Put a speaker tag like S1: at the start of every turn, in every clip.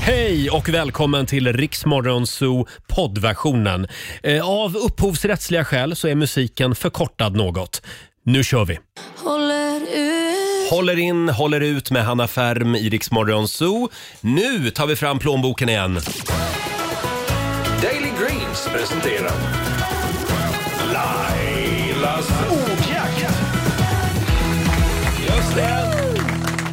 S1: Hej och välkommen till Riksmorgon Zoo poddversionen. Eh, Av upphovsrättsliga skäl så är musiken förkortad något. Nu kör vi!
S2: Håller ut.
S1: Håller in, håller ut med Hanna Färm i Riksmorgon Zoo. Nu tar vi fram plånboken igen.
S3: Daily Greens presenterar Lailas ordjakt. Just det.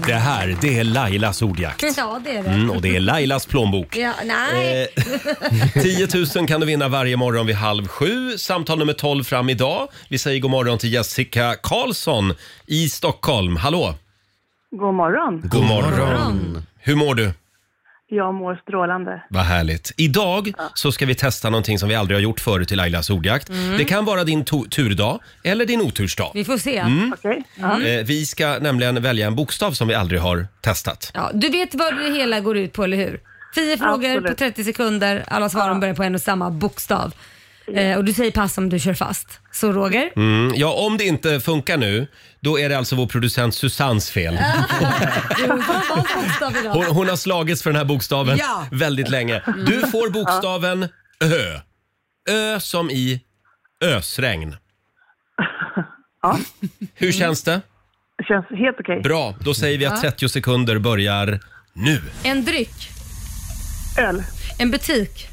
S1: Det här, det är Lailas ordjakt.
S2: Ja, det är det.
S1: Mm, och det är Lailas plånbok.
S2: Ja, nej.
S1: Eh, 10 000 kan du vinna varje morgon vid halv sju. Samtal nummer 12 fram idag. Vi säger god morgon till Jessica Karlsson i Stockholm. Hallå!
S4: God morgon.
S1: God morgon! Hur mår du?
S4: Jag mår strålande.
S1: Vad härligt. Idag så ska vi testa någonting som vi aldrig har gjort förut i Lailas ordjakt. Det kan vara din to- turdag eller din otursdag.
S2: Vi får se.
S4: Okej? Ja.
S1: Eh, vi ska nämligen välja en bokstav som vi aldrig har testat.
S2: Ja, du vet vad det hela går ut på, eller hur? Tio frågor
S4: Absolut.
S2: på 30 sekunder. Alla svaren börjar på en och samma bokstav. Eh, och du säger pass om du kör fast. Så Roger?
S1: Mm, ja, om det inte funkar nu, då är det alltså vår producent Susannes fel.
S2: Du får vara en bokstav idag.
S1: Hon, hon har slagits för den här bokstaven
S5: Ja.
S1: väldigt länge. Du får bokstaven Ö. Ö som i ösregn.
S4: Ja.
S1: Hur känns det?
S4: Det känns helt okej.
S1: Bra, då säger vi att 30 sekunder börjar nu.
S2: En dryck,
S4: Öl.
S2: en butik,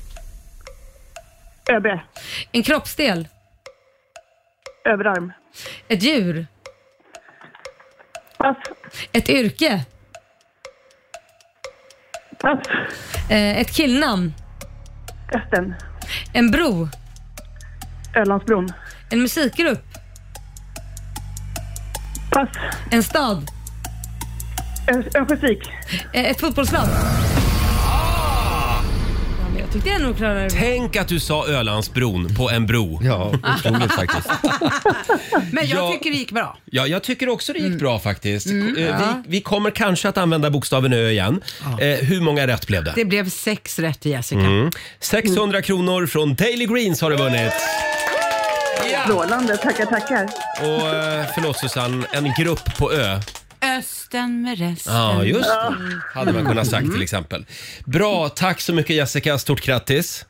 S4: ÖB.
S2: en kroppsdel,
S4: Överarm.
S2: ett djur,
S4: Pass.
S2: ett yrke,
S4: Pass.
S2: eh, ett killnamn,
S4: Östen.
S2: en bro,
S4: Ölandsbron.
S2: en musikgrupp,
S4: Pass.
S2: en stad,
S4: Ö- Örnsköldsvik.
S2: eh, ett fotbollslag.
S1: Ah!
S2: Ja, men jag tyckte jag nog klarade det.
S1: Tänk att du sa Ölandsbron på en bro.
S6: Ja, otroligt faktiskt.
S5: Men jag
S1: Ja.
S5: tycker det gick bra.
S1: Ja, jag tycker också det gick bra faktiskt. Eh, Vi, vi kommer kanske att använda bokstaven Ö igen. Eh, hur många rätt blev det?
S5: Det blev sex rätt till Jessica.
S1: 600 kronor från Daily Greens har du vunnit.
S4: Strålande. Tackar, tackar.
S1: Och eh, förlåt Susanne, en grupp på Ö.
S5: Östen med resten.
S1: Ja, Mm. just det. Hade man kunnat sagt till exempel. Bra, tack så mycket Jessica. Stort grattis.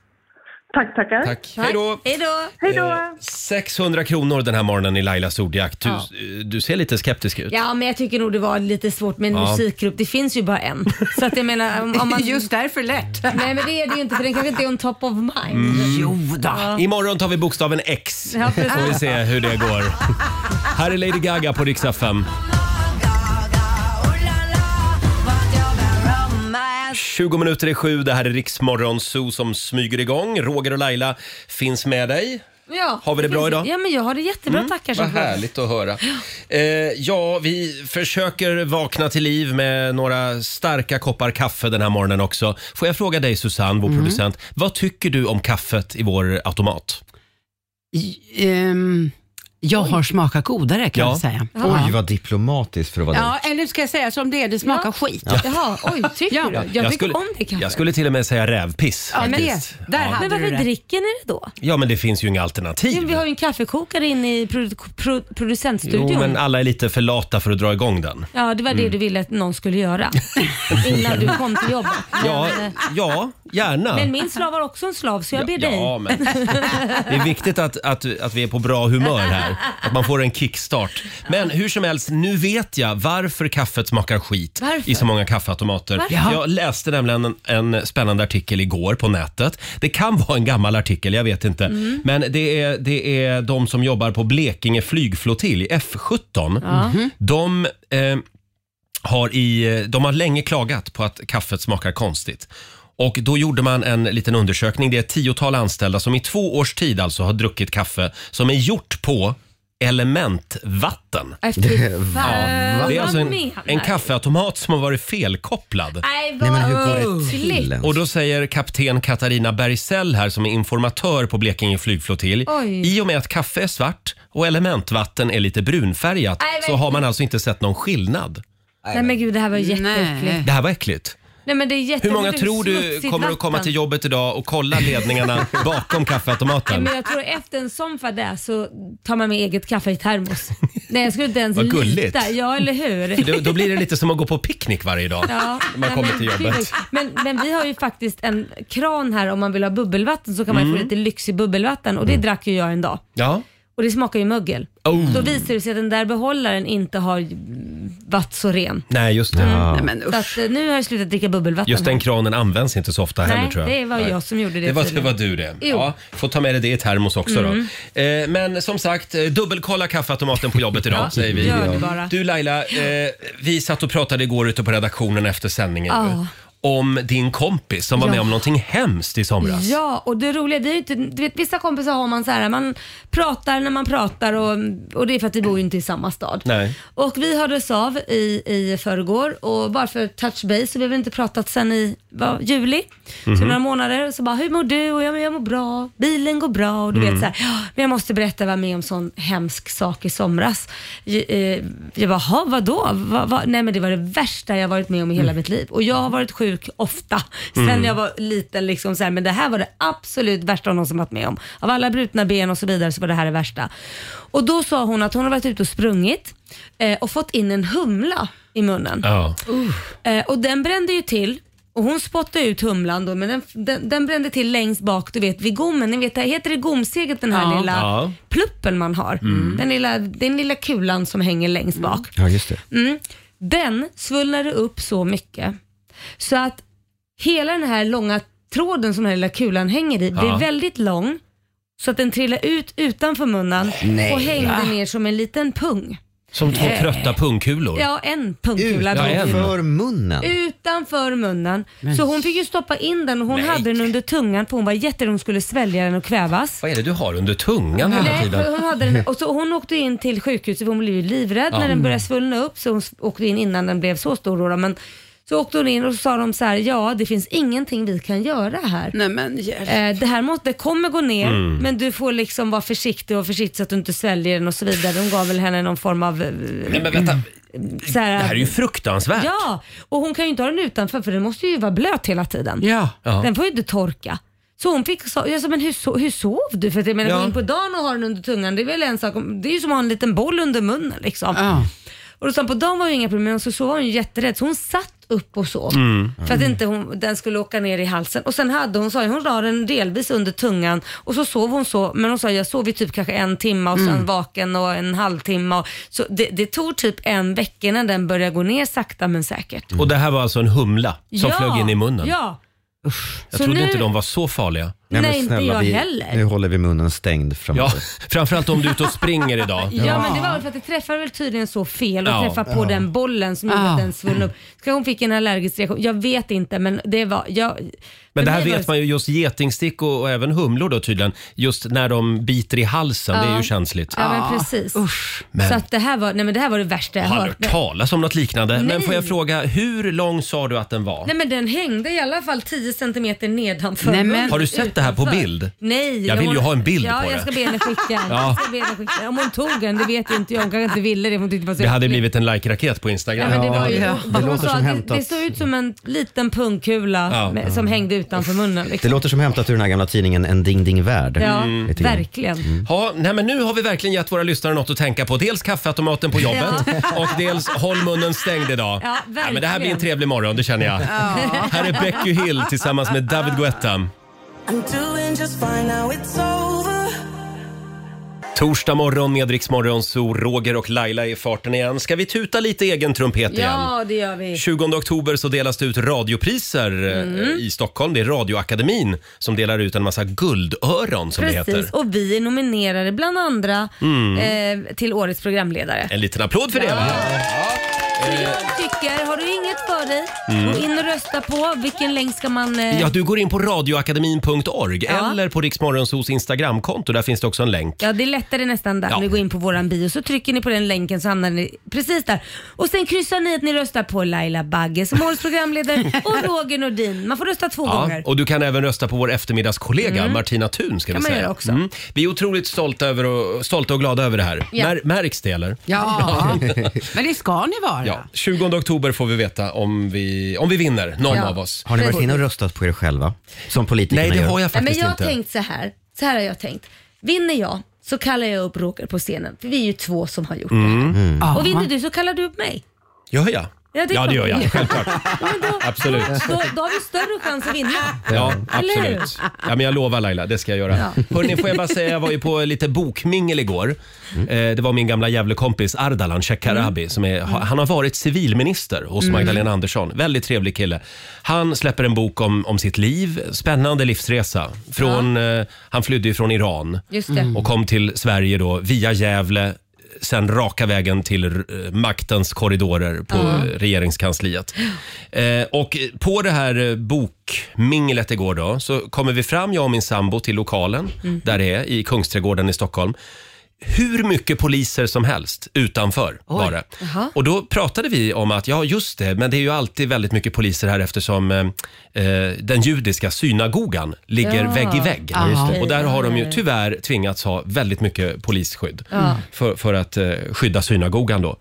S4: Tack, tackar.
S1: Tack. Hej då.
S2: Hej då!
S4: Hej då.
S1: 600 kronor den här morgonen i Lailas ordjakt. Du, eh, du ser lite skeptisk ut.
S2: Ja, men jag tycker nog det var lite svårt med en musikgrupp. Det finns ju bara en. Så att jag menar, om, om man...
S5: Just därför lätt.
S2: Nej, men det är det ju inte, för den kanske inte är on top of mind.
S1: Mm.
S5: Jo då.
S1: Imorgon tar vi bokstaven X.
S2: Ja, precis.
S1: Får vi se hur det går. Här är Lady Gaga på riksdag 5. 20 minuter i sju, det här är Riksmorgon Zoo som smyger igång. Roger och Laila finns med dig.
S2: Ja,
S1: Har vi det bra
S2: finns-
S1: idag? Mm.
S2: Ja, men jag har det jättebra, tackar så
S1: Vad
S2: mycket.
S1: härligt att höra. Eh, ja, vi försöker vakna till liv med några starka koppar kaffe den här morgonen också. Får jag fråga dig Susanne,
S2: Mm.
S1: vår producent, vad tycker du om kaffet i vår automat?
S5: Ehm, jag har smakat godare kan
S1: Ja.
S5: jag säga.
S6: Oj, vad diplomatiskt för att vara
S5: Ja, eller ska jag säga som det är, det smakar
S2: Ja.
S5: skit.
S2: Jaha, oj, tycker
S5: Ja.
S2: du? Jag, tycker om det kanske.
S1: jag skulle till och med säga rävpiss.
S5: Ja,
S1: faktiskt.
S5: det, där hade
S2: Men
S5: du
S2: varför
S5: det.
S2: dricker ni det då?
S1: ja, men det finns ju inga alternativ.
S2: Vi har ju en kaffekokare inne i produ- pro- producentstudion.
S1: Jo, men Mm. alla är lite för lata för att dra igång den.
S2: Ja, det var det du ville att någon skulle göra innan du kom till jobbet. Men,
S1: Ja,
S2: eh,
S1: ja gärna.
S2: men min slav har också en slav, så jag ber dig.
S1: Ja, men det är viktigt att, att, att vi är på bra humör här. Att man får en kickstart. Men hur som helst, nu vet jag varför kaffet smakar skit
S2: Varför?
S1: i så många kaffeautomater.
S2: Varför?
S1: Jag läste nämligen en, en spännande artikel igår på nätet. Det kan vara en gammal artikel, jag vet inte.
S2: Mm.
S1: Men det är, det är de som jobbar på Blekinge flygflottilj, F17. De... Eh, har i, de har länge klagat på att kaffet smakar konstigt. Och då gjorde man en liten undersökning. Det är ett tiotal anställda som i två års tid alltså har druckit kaffe som är gjort på elementvatten.
S2: Efter Eh,
S1: det är alltså en, en kaffeautomat som har varit felkopplad.
S2: Nej,
S6: Nej,
S2: vad
S6: men hur går det till ens?
S1: Och då säger kapten Katarina Bergsell här som är informatör på Blekinge flygflottilj.
S2: Oj.
S1: I och med att kaffe är svart och elementvatten är lite brunfärgat
S2: Nej,
S1: så
S2: men-
S1: har man alltså inte sett någon skillnad.
S2: Nej men gud, det här var jätteäckligt.
S5: Nej.
S1: Det här var äckligt.
S2: Nej, men det är jätte...
S1: Hur många
S2: det är
S1: tror du
S2: smutsigt
S1: kommer att komma
S2: vatten.
S1: till jobbet idag och kolla ledningarna bakom
S2: Nej,
S1: kaffeautomaten?
S2: men jag tror efter en sån fadäs så tar man med eget kaffe i termos. Nej, jag skulle inte ens
S1: Vad gulligt.
S2: lita. Ja, eller hur?
S1: Då, då blir det lite som att gå på picknick varje dag
S2: Ja.
S1: när man
S2: Nej,
S1: kommer
S2: men
S1: till
S2: kul.
S1: jobbet.
S2: Men, men vi har ju faktiskt en kran här om man vill ha bubbelvatten så kan man ju få
S1: Mm.
S2: lite lyxig bubbelvatten och det drack ju jag en dag.
S1: Ja.
S2: Och det smakar ju mögel.
S1: Oh.
S2: Då visar det sig att den där behållaren inte har mm, varit så ren.
S1: Nej, just det.
S2: Nej, men så att, eh, nu har jag slutat dricka bubbelvatten.
S1: Just den
S2: här.
S1: kranen används inte så ofta heller
S2: Nej,
S1: tror jag.
S2: det var
S1: Nej.
S2: jag som gjorde det.
S1: Det var, det
S2: tydligen.
S1: var du det.
S2: Jo.
S1: Ja, får ta med dig det i termos också
S2: Mm.
S1: då. Eh, men som sagt, eh, dubbelkolla kaffeautomaten på jobbet idag
S2: Ja,
S1: säger vi.
S2: gör det bara.
S1: Du Laila, eh, vi satt och pratade igår ute på redaktionen efter sändningen ju,
S2: Ja.
S1: om din kompis som var
S2: Ja.
S1: med om någonting hemskt i somras.
S2: Ja, och det roliga, vi är ju inte, du vet, vissa kompisar har man så här, man pratar när man pratar och, och det är för att vi bor ju inte i samma stad.
S1: Nej.
S2: Och vi hördes av i, i förrgår och bara för touch base så vi har väl inte pratat sen i vad, juli.
S7: Mhm.
S2: Så några månader så bara, hur mår du? Och jag, men jag mår bra, bilen går bra och du
S7: Mm.
S2: vet så här, "Ja, men jag måste berätta vad jag var med om sån hemsk sak i somras. Jag, eh, jag bara, "Jaha, vadå? Va, va? Nej men det var det värsta jag varit med om i hela
S7: Mm.
S2: mitt liv. Och jag har varit sjuk ofta sen
S7: Mm.
S2: jag var liten liksom så här, men det här var det absolut värsta hon som varit med om. Av alla brutna ben och så vidare så var det här det värsta. Och då sa hon att hon har varit ute och sprungit eh, och fått in en humla i munnen.
S1: Ja.
S2: Eh, och den brände ju till. Och hon spottade ut humlan då, men den, den, den brände till längst bak, du vet vid gommen. Ni vet, det här- heter det gomsteget den här
S5: Ja.
S2: lilla
S5: Ja.
S2: pluppen man har?
S5: Mm.
S2: Den, lilla, den lilla kulan som hänger längst bak.
S6: Ja, just det.
S2: Mm. Den svullnade upp så mycket så att hela den här långa tråden som den här lilla kulan hänger i
S7: Ja.
S2: blev väldigt lång så att den trillade ut utanför munnen
S1: Nej,
S2: och hängde
S1: va?
S2: ner som en liten pung.
S1: Som två
S2: Nej.
S1: trötta pungkulor.
S2: Ja, en pungkula.
S1: Utanför
S2: blev det.
S1: Utanför munnen?
S2: Utanför munnen.
S1: Men-
S2: Så hon fick ju stoppa in den och hon hade den under tungan på hon var jätterädd hon skulle svälja den och kvävas.
S1: Vad är det du har under tungan hela
S2: Nej,
S1: tiden?
S2: hon, hade den, och så hon åkte in till sjukhuset för hon blev ju livrädd
S1: Ja. Mm.
S2: när den började svullna upp. Så hon s- åkte in innan den blev så stor. då, Då, men så åkte hon in och så sa de så här, ja det finns ingenting vi kan göra här.
S5: Nej, men, hjälp.
S2: Eh, det här måste, det kommer gå ner
S5: Mm.
S2: men du får liksom vara försiktig och försiktig så att du inte sväljer den och så vidare. De gav väl henne någon form av... eh,
S1: Nej, men vänta.
S2: Så här,
S1: Det här är ju fruktansvärt.
S2: Ja, och hon kan ju inte ha den utanför för den måste ju vara blöt hela tiden.
S5: Ja.
S1: Ja.
S2: Den får ju inte torka. Så hon fick sa, jag sa, men hur, so- hur sov du? För att jag menar,
S7: Ja.
S2: gå in på dagen och ha den under tungan, det är väl en sak. om- Det är ju som att ha en liten boll under munnen liksom. Och då sa hon, på dagen var ju inga problem, men så sov hon ju jätterädd. Så hon satt upp och sov.
S7: Mm.
S2: För att inte hon, den skulle åka ner i halsen. Och sen hade hon, sa ju, hon la den delvis under tungan och så sov hon så. Men hon sa, jag sov i typ kanske en timme och sen
S7: Mm.
S2: vaken och en halvtimme. Och, så det, det tog typ en vecka innan den började gå ner sakta men säkert.
S1: Och det här var alltså en humla som flög in i munnen.
S2: Ja.
S1: Jag
S2: Så
S1: trodde
S2: nu-
S1: inte de var så farliga.
S2: Nej, Nej, inte snälla, jag vi- heller.
S6: Nu håller vi munnen stängd
S1: Ja,
S6: framåt.
S1: framförallt om du är ute och springer idag.
S2: Ja, men det var väl för att det träffade väl tydligen så fel och
S1: Ja.
S2: träffade på
S1: Ja.
S2: den bollen som gjorde
S1: Ja.
S2: att den svullnade upp. Ska hon fick en allergisk reaktion? Jag vet inte men det var... Jag,
S1: Men det här
S2: för mig var
S1: vet man ju, just getingstick och, och även humlor då tydligen, just när de biter i halsen, det är
S2: Ja.
S1: ju känsligt.
S2: Ja men precis.
S1: Men-
S2: Så att det här var, nej men det här var det värsta jag
S1: Jag har
S2: hört.
S1: aldrig hört talas om något liknande. Men
S2: Nej.
S1: får jag fråga, hur lång sa du att den var?
S2: Nej men den hängde i alla fall 10 centimeter nedanför.
S1: Nej, men-
S2: munnen,
S1: Har du sett det här på
S2: utanför.
S1: bild?
S2: Nej.
S1: Jag vill
S2: hon-
S1: ju ha en bild
S2: ja,
S1: på
S2: jag
S1: det.
S2: Ska be henne skicka den.
S1: Ja.
S2: Jag ska be henne skicka den. Om hon tog den, det vet inte jag. Hon kanske inte ville det för hon tyckte det var så
S1: Det hade
S2: äckligt.
S1: blivit en like-raket på
S2: Ja,
S1: Instagram.
S2: men det, var ju, hon
S6: låter
S2: sa
S6: som
S2: att det,
S6: hämtat.
S2: det såg ut som en liten pungkula
S6: Ja.
S2: med, som hängde utanför munnen.
S6: Det
S2: Liksom.
S6: låter som hämtat ur den här gamla tidningen En ding ding värld.
S2: Ja,
S6: Lite grann.
S2: verkligen.
S1: Ja, nej men nu har vi verkligen gett våra lyssnare något att tänka på. Dels kaffeautomaten på jobbet och dels håll munnen stängd idag.
S7: Ja,
S1: Nej, men det här blir en
S7: verkligen.
S1: trevlig morgon, det känner jag. Här är Becky Hill tillsammans med David Guetta.
S7: I'm doing just fine now it's over.
S1: Torsdag morgon med Rix Morgon, så Roger och Laila är i farten igen. Ska vi tuta lite egen trumpet igen?
S2: Ja, det gör vi.
S1: 20 oktober så delas det ut radiopriser eh,
S2: Mm.
S1: i Stockholm. Det är Radioakademin som delar ut en massa guldöron som det heter.
S2: Precis, och vi är nominerade bland andra
S1: Mm. Eh.
S2: eh, till årets programledare.
S1: En liten applåd för det va?
S2: Så jag tycker, har du inget för dig,
S1: Mm.
S2: gå in och rösta på. Vilken länk ska man... eh,
S1: Ja, du går in på radioakademin.org
S2: Ja.
S1: eller på Riksmorgonsos Instagramkonto. Där finns det också en länk.
S2: Ja, det är lättare nästan där.
S1: Ja.
S2: Ni går in på våran bio så trycker ni på den länken så hamnar ni precis där. Och sen kryssar ni att ni röstar på Laila Bagge som årets programledare och Roger Nordin. Man får rösta två
S1: Ja,
S2: gånger.
S1: och du kan även rösta på vår eftermiddagskollega
S2: Mm.
S1: Martina Thun. Ska vi
S2: Kan man
S1: säga. Mm.
S2: göra också.
S1: Vi är otroligt stolta, över och, stolta och glada över det här.
S5: Ja.
S1: Mär, märks det eller?
S5: Ja. Men det ska ni vara.
S1: Ja, 20 oktober får vi veta om vi, om vi vinner, någon
S2: Ja.
S1: av oss.
S6: Har ni varit inne och röstat på er själva? Som politikerna
S1: Nej, det
S6: gör?
S1: har jag
S2: Nej, men jag har tänkt så här. Så här har jag tänkt. Vinner jag så kallar jag upp Roger på scenen. För vi är ju två som har gjort
S1: Mm.
S2: det. Och vinner du så kallar du upp mig.
S1: Ja, ja.
S2: Ja, det är
S1: ja, det gör
S2: klart.
S1: jag. Självklart.
S2: Men då,
S1: Absolut.
S2: Då, då har vi större chans att vinna.
S1: Ja,
S2: Eller hur?
S1: absolut. Ja, men jag lovar Laila, det ska jag göra. Hörrni, får jag bara säga, jag var ju på lite bokmingel igår.
S2: Mm.
S1: Eh, det var min gamla Gävlekompis Ardalan Shekarabi. Som är, ha- han har varit civilminister hos
S2: Mm.
S1: Magdalena Andersson. Väldigt trevlig kille. Han släpper en bok om, om sitt liv. Spännande livsresa. Från, eh, han flydde ju från Iran
S2: Just det.
S1: och kom till Sverige då via Gävle sen raka vägen till eh, maktens korridorer på eh, regeringskansliet. Eh, och eh, på det här eh, bokminglet igår då så kommer vi fram, jag och min sambo, till lokalen där det är i Kungsträdgården i Stockholm. Hur mycket poliser som helst utanför var det.
S2: Jaha.
S1: Och då pratade vi om att, ja just det, men det är ju alltid väldigt mycket poliser här eftersom eh, eh, den judiska synagogan ligger
S2: Ja.
S1: vägg i vägg.
S5: Ja, Mm. just
S1: Och där har de ju tyvärr tvingats ha väldigt mycket polisskydd för, för att eh, skydda synagogan då.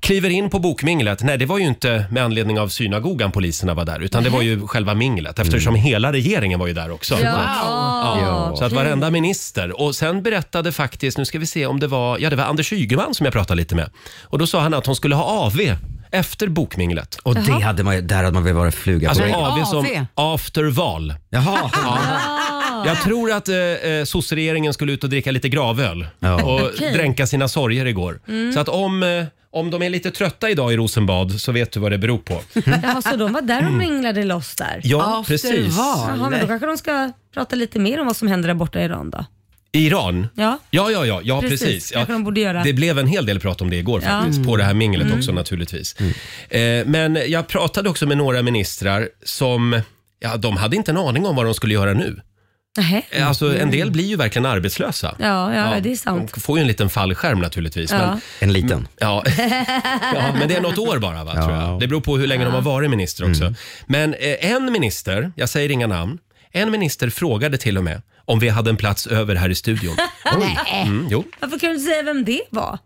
S1: Kliver in på bokminglet. Nej, det var ju inte med anledning av synagogan poliserna var där, utan det var ju själva minglet eftersom hela regeringen var ju där också.
S2: Ja.
S1: Så att varenda minister. Och sen berättade faktiskt, nu ska vi se om det var, ja det var Anders Ygeman som jag pratade lite med. Och då sa han att hon skulle ha AV efter bokminglet.
S6: Och det hade man, ju- där hade man väl varit fluga
S1: Alltså
S6: på väggen.
S1: AV som
S5: AV.
S1: afterval.
S6: Jaha,
S1: Jag tror att eh, eh, sosseregeringen skulle ut och dricka lite gravöl
S6: Ja.
S1: och
S2: Okej.
S1: dränka sina sorger igår. Så att om, eh, om de är lite trötta idag i Rosenbad så vet du vad det beror på.
S2: Jaha, så de var där och minglade loss där?
S1: Mm. Ja,
S5: After
S1: precis.
S5: vad?
S2: Jaha, men då kanske de ska prata lite mer om vad som händer där borta i Iran då.
S1: Iran?
S2: Ja.
S1: Ja, ja, ja, ja precis.
S2: Precis,
S1: Ja.
S2: kanske de borde göra. Mm.
S1: Det blev en hel del prat om det igår faktiskt, på det här minglet också naturligtvis. Eh, men jag pratade också med några ministrar som, ja de hade inte en aning om vad de skulle göra nu.
S2: Nähä.
S1: Eh, Alltså en del blir ju verkligen arbetslösa.
S2: Mm. Ja, ja, det är sant.
S1: De får ju en liten fallskärm naturligtvis. Men,
S6: en liten.
S1: Ja. ja, men det är något år bara va, tror
S6: Ja.
S1: jag. Det beror på hur länge de har varit minister också. Men eh, en minister, jag säger inga namn, en minister frågade till och med om vi hade en plats över här i studion. Mm, jo.
S2: Varför kan du inte säga vem det var?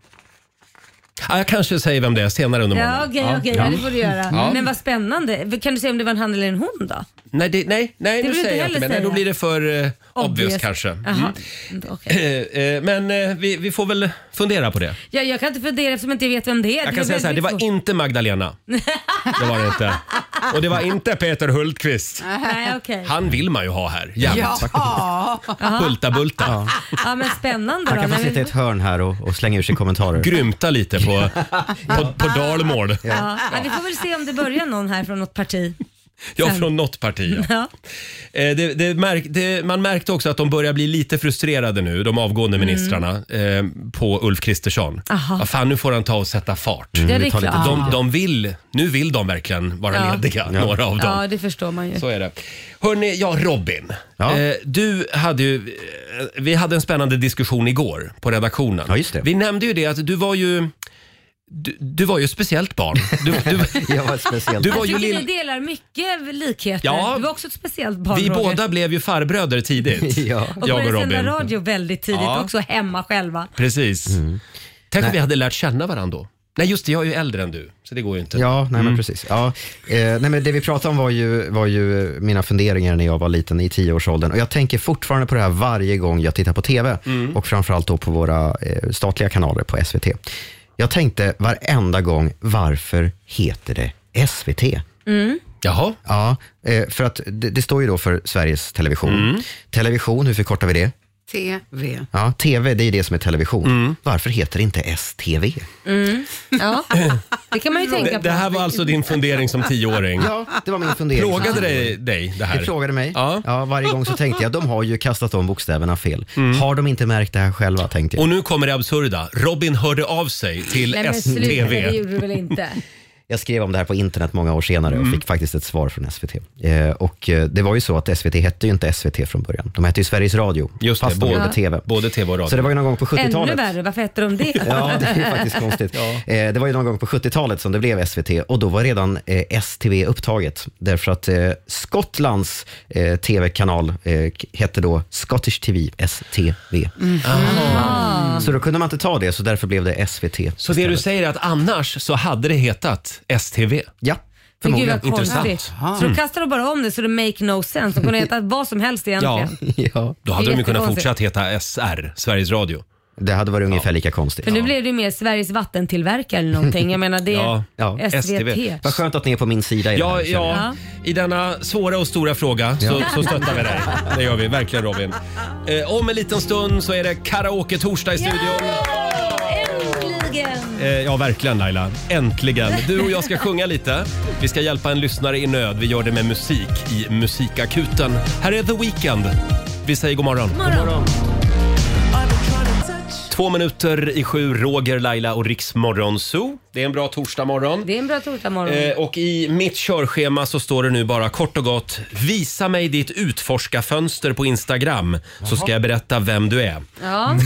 S1: Ja, jag kanske säger vem det är senare under
S2: Ja,
S1: morgonen.
S2: okej, okej, ja. det får du göra. Men vad spännande. Kan du säga om det var en han eller en hon då?
S1: Nej, det, nej, nej
S2: vill
S1: nu
S2: du inte
S1: säger jag
S2: heller
S1: inte mer. Nej, Då
S2: säga.
S1: blir det för eh, obvious kanske. Mm.
S2: Jaha. Okej.
S1: Eh, eh, Men eh, vi, vi får väl fundera på det.
S2: Ja, jag kan inte fundera eftersom jag inte vet vem det är.
S1: Jag kan säga så här, det var
S2: väldigt
S1: inte Magdalena. Det var det inte. Och det var inte Peter Hultqvist.
S2: svårt. Nej, okej.
S1: Han vill man ju ha här jämt.
S5: Ja.
S1: Hulta-bulta.
S2: Ja, men spännande då.
S6: Man kan få
S2: Men
S6: sitta i
S2: vi-
S6: ett hörn här och, och slänga ur sig kommentarer.
S1: grymta lite på, på, på dalmål.
S2: Ja, ja, vi får väl se om det börjar någon här från något parti.
S1: Ja, från något parti. Ja.
S2: Ja.
S1: Eh, Det, det märk, det, man märkte också att de börjar bli lite frustrerade nu, de avgående ministrarna, eh, på Ulf Kristersson.
S2: Mm. Aha. Mm.
S1: Ja, fan, nu får han ta och sätta fart.
S2: Ja, det är
S6: tar lite
S2: klart.
S1: De, de vill, nu vill de verkligen vara
S2: Ja.
S1: lediga, några av dem.
S2: Ja, det förstår man ju.
S1: Så är det. Hörni, ja Robin.
S6: Ja.
S1: Eh, du hade ju, eh, vi hade en spännande diskussion igår på redaktionen.
S6: Ja, just det.
S1: Vi nämnde ju det att du var ju, du, du var ju ett speciellt barn. Du, du,
S6: Jag var speciellt.
S1: Du var
S2: Jag
S1: ju
S2: tycker
S1: lill...
S2: ni delar mycket likheter.
S1: Ja.
S2: Du var också ett speciellt barn
S1: Vi
S2: Roger.
S1: båda blev ju farbröder tidigt.
S6: Ja.
S1: jag
S2: och
S1: och
S2: började
S1: Robin.
S2: sända radio väldigt tidigt
S1: Ja.
S2: också hemma själva.
S1: Precis.
S6: Mm.
S1: Tänk om vi hade lärt känna varandra då. Nej just det, jag är ju äldre än du. Så det går ju inte.
S6: Ja, nej men precis. Ja, eh, nej, men det vi pratade om var ju, var ju mina funderingar när jag var liten i tioårsåldern. Och jag tänker fortfarande på det här varje gång jag tittar på TV. Och framförallt då på våra eh, statliga kanaler på SVT. Jag tänkte varenda gång, varför heter det SVT?
S1: Jaha.
S6: Ja, eh, för att det, det står ju då för Sveriges Television. Television, hur förkortar vi det?
S5: TV.
S6: Ja, TV, det är det som är television. Varför heter det inte STV?
S2: Ja, det kan man ju tänka
S1: Det,
S2: på.
S1: det här var alltså din fundering som tioåring.
S6: Ja, det var min fundering.
S1: Plågade det dig det här?
S6: Det plågade mig.
S1: Ja.
S6: Ja. varje gång så tänkte jag, de har ju kastat om bokstäverna fel. Har de inte märkt det här själva, tänkte jag.
S1: Mm. Och nu kommer det absurda. Robin hörde av sig till
S2: Nej men sluta, det
S1: STV.
S2: gjorde du väl inte?
S6: Jag skrev om det här på internet många år senare
S1: Mm.
S6: och fick faktiskt ett svar från SVT. Eh, och eh, det var ju så att SVT hette ju inte SVT från början. De hette ju Sveriges Radio,
S1: Just det,
S6: fast de
S1: både-
S6: gjorde TV.
S1: både TV och radio.
S6: Så det var ju någon gång på
S2: Ännu
S6: 70-talet.
S2: värre, varför hette de det?
S6: Ja, det är ju faktiskt konstigt. Eh, det var ju någon gång på 70-talet som det blev SVT och då var redan eh, STV upptaget. Därför att eh, Skottlands eh, TV-kanal eh, k- hette då Scottish TV, STV.
S1: Mm.
S6: Så då kunde man inte ta det, så därför blev det SVT.
S1: Så det du säger är att annars så hade det hetat STV?
S6: Ja,
S2: Men Gud vad
S6: förmodligen.
S2: konstigt.
S1: Intressant.
S2: Så då kastar de bara om det så det make no sense. De kunde heta vad som helst egentligen.
S1: Ja.
S6: Ja.
S1: Då hade
S2: Det är
S1: de ju kunnat
S2: jättekonstigt.
S1: fortsatt heta SR, Sveriges Radio.
S6: Det hade varit ungefär lika konstigt.
S2: För nu blev det ju mer Sveriges vattentillverkare eller någonting. Jag menar det är
S1: Ja,
S6: ja.
S2: SVT.
S6: Vad skönt att ni är på min sida i det
S1: Ja,
S6: här, känner jag.
S1: ja, i denna svåra och stora fråga så, så stöttar vi dig. Det gör vi verkligen Robin. Eh, om en liten stund så är det karaoke-torsdag i studion.
S2: Äntligen!
S1: Eh, ja, verkligen Laila. Äntligen. Du och jag ska sjunga lite. Vi ska hjälpa en lyssnare i nöd. Vi gör det med musik i Musikakuten. Här är The Weeknd. Vi säger god morgon. Två minuter i sju, Roger, Laila och Riksmorgon Zoo. Det är en bra torsdagmorgon.
S2: Det är en bra torsdagmorgon.
S1: Eh, och i mitt körschema så står det nu bara kort och gott Visa mig ditt utforskarfönster på Instagram så ska jag berätta vem du är.
S2: Ja.
S8: mm.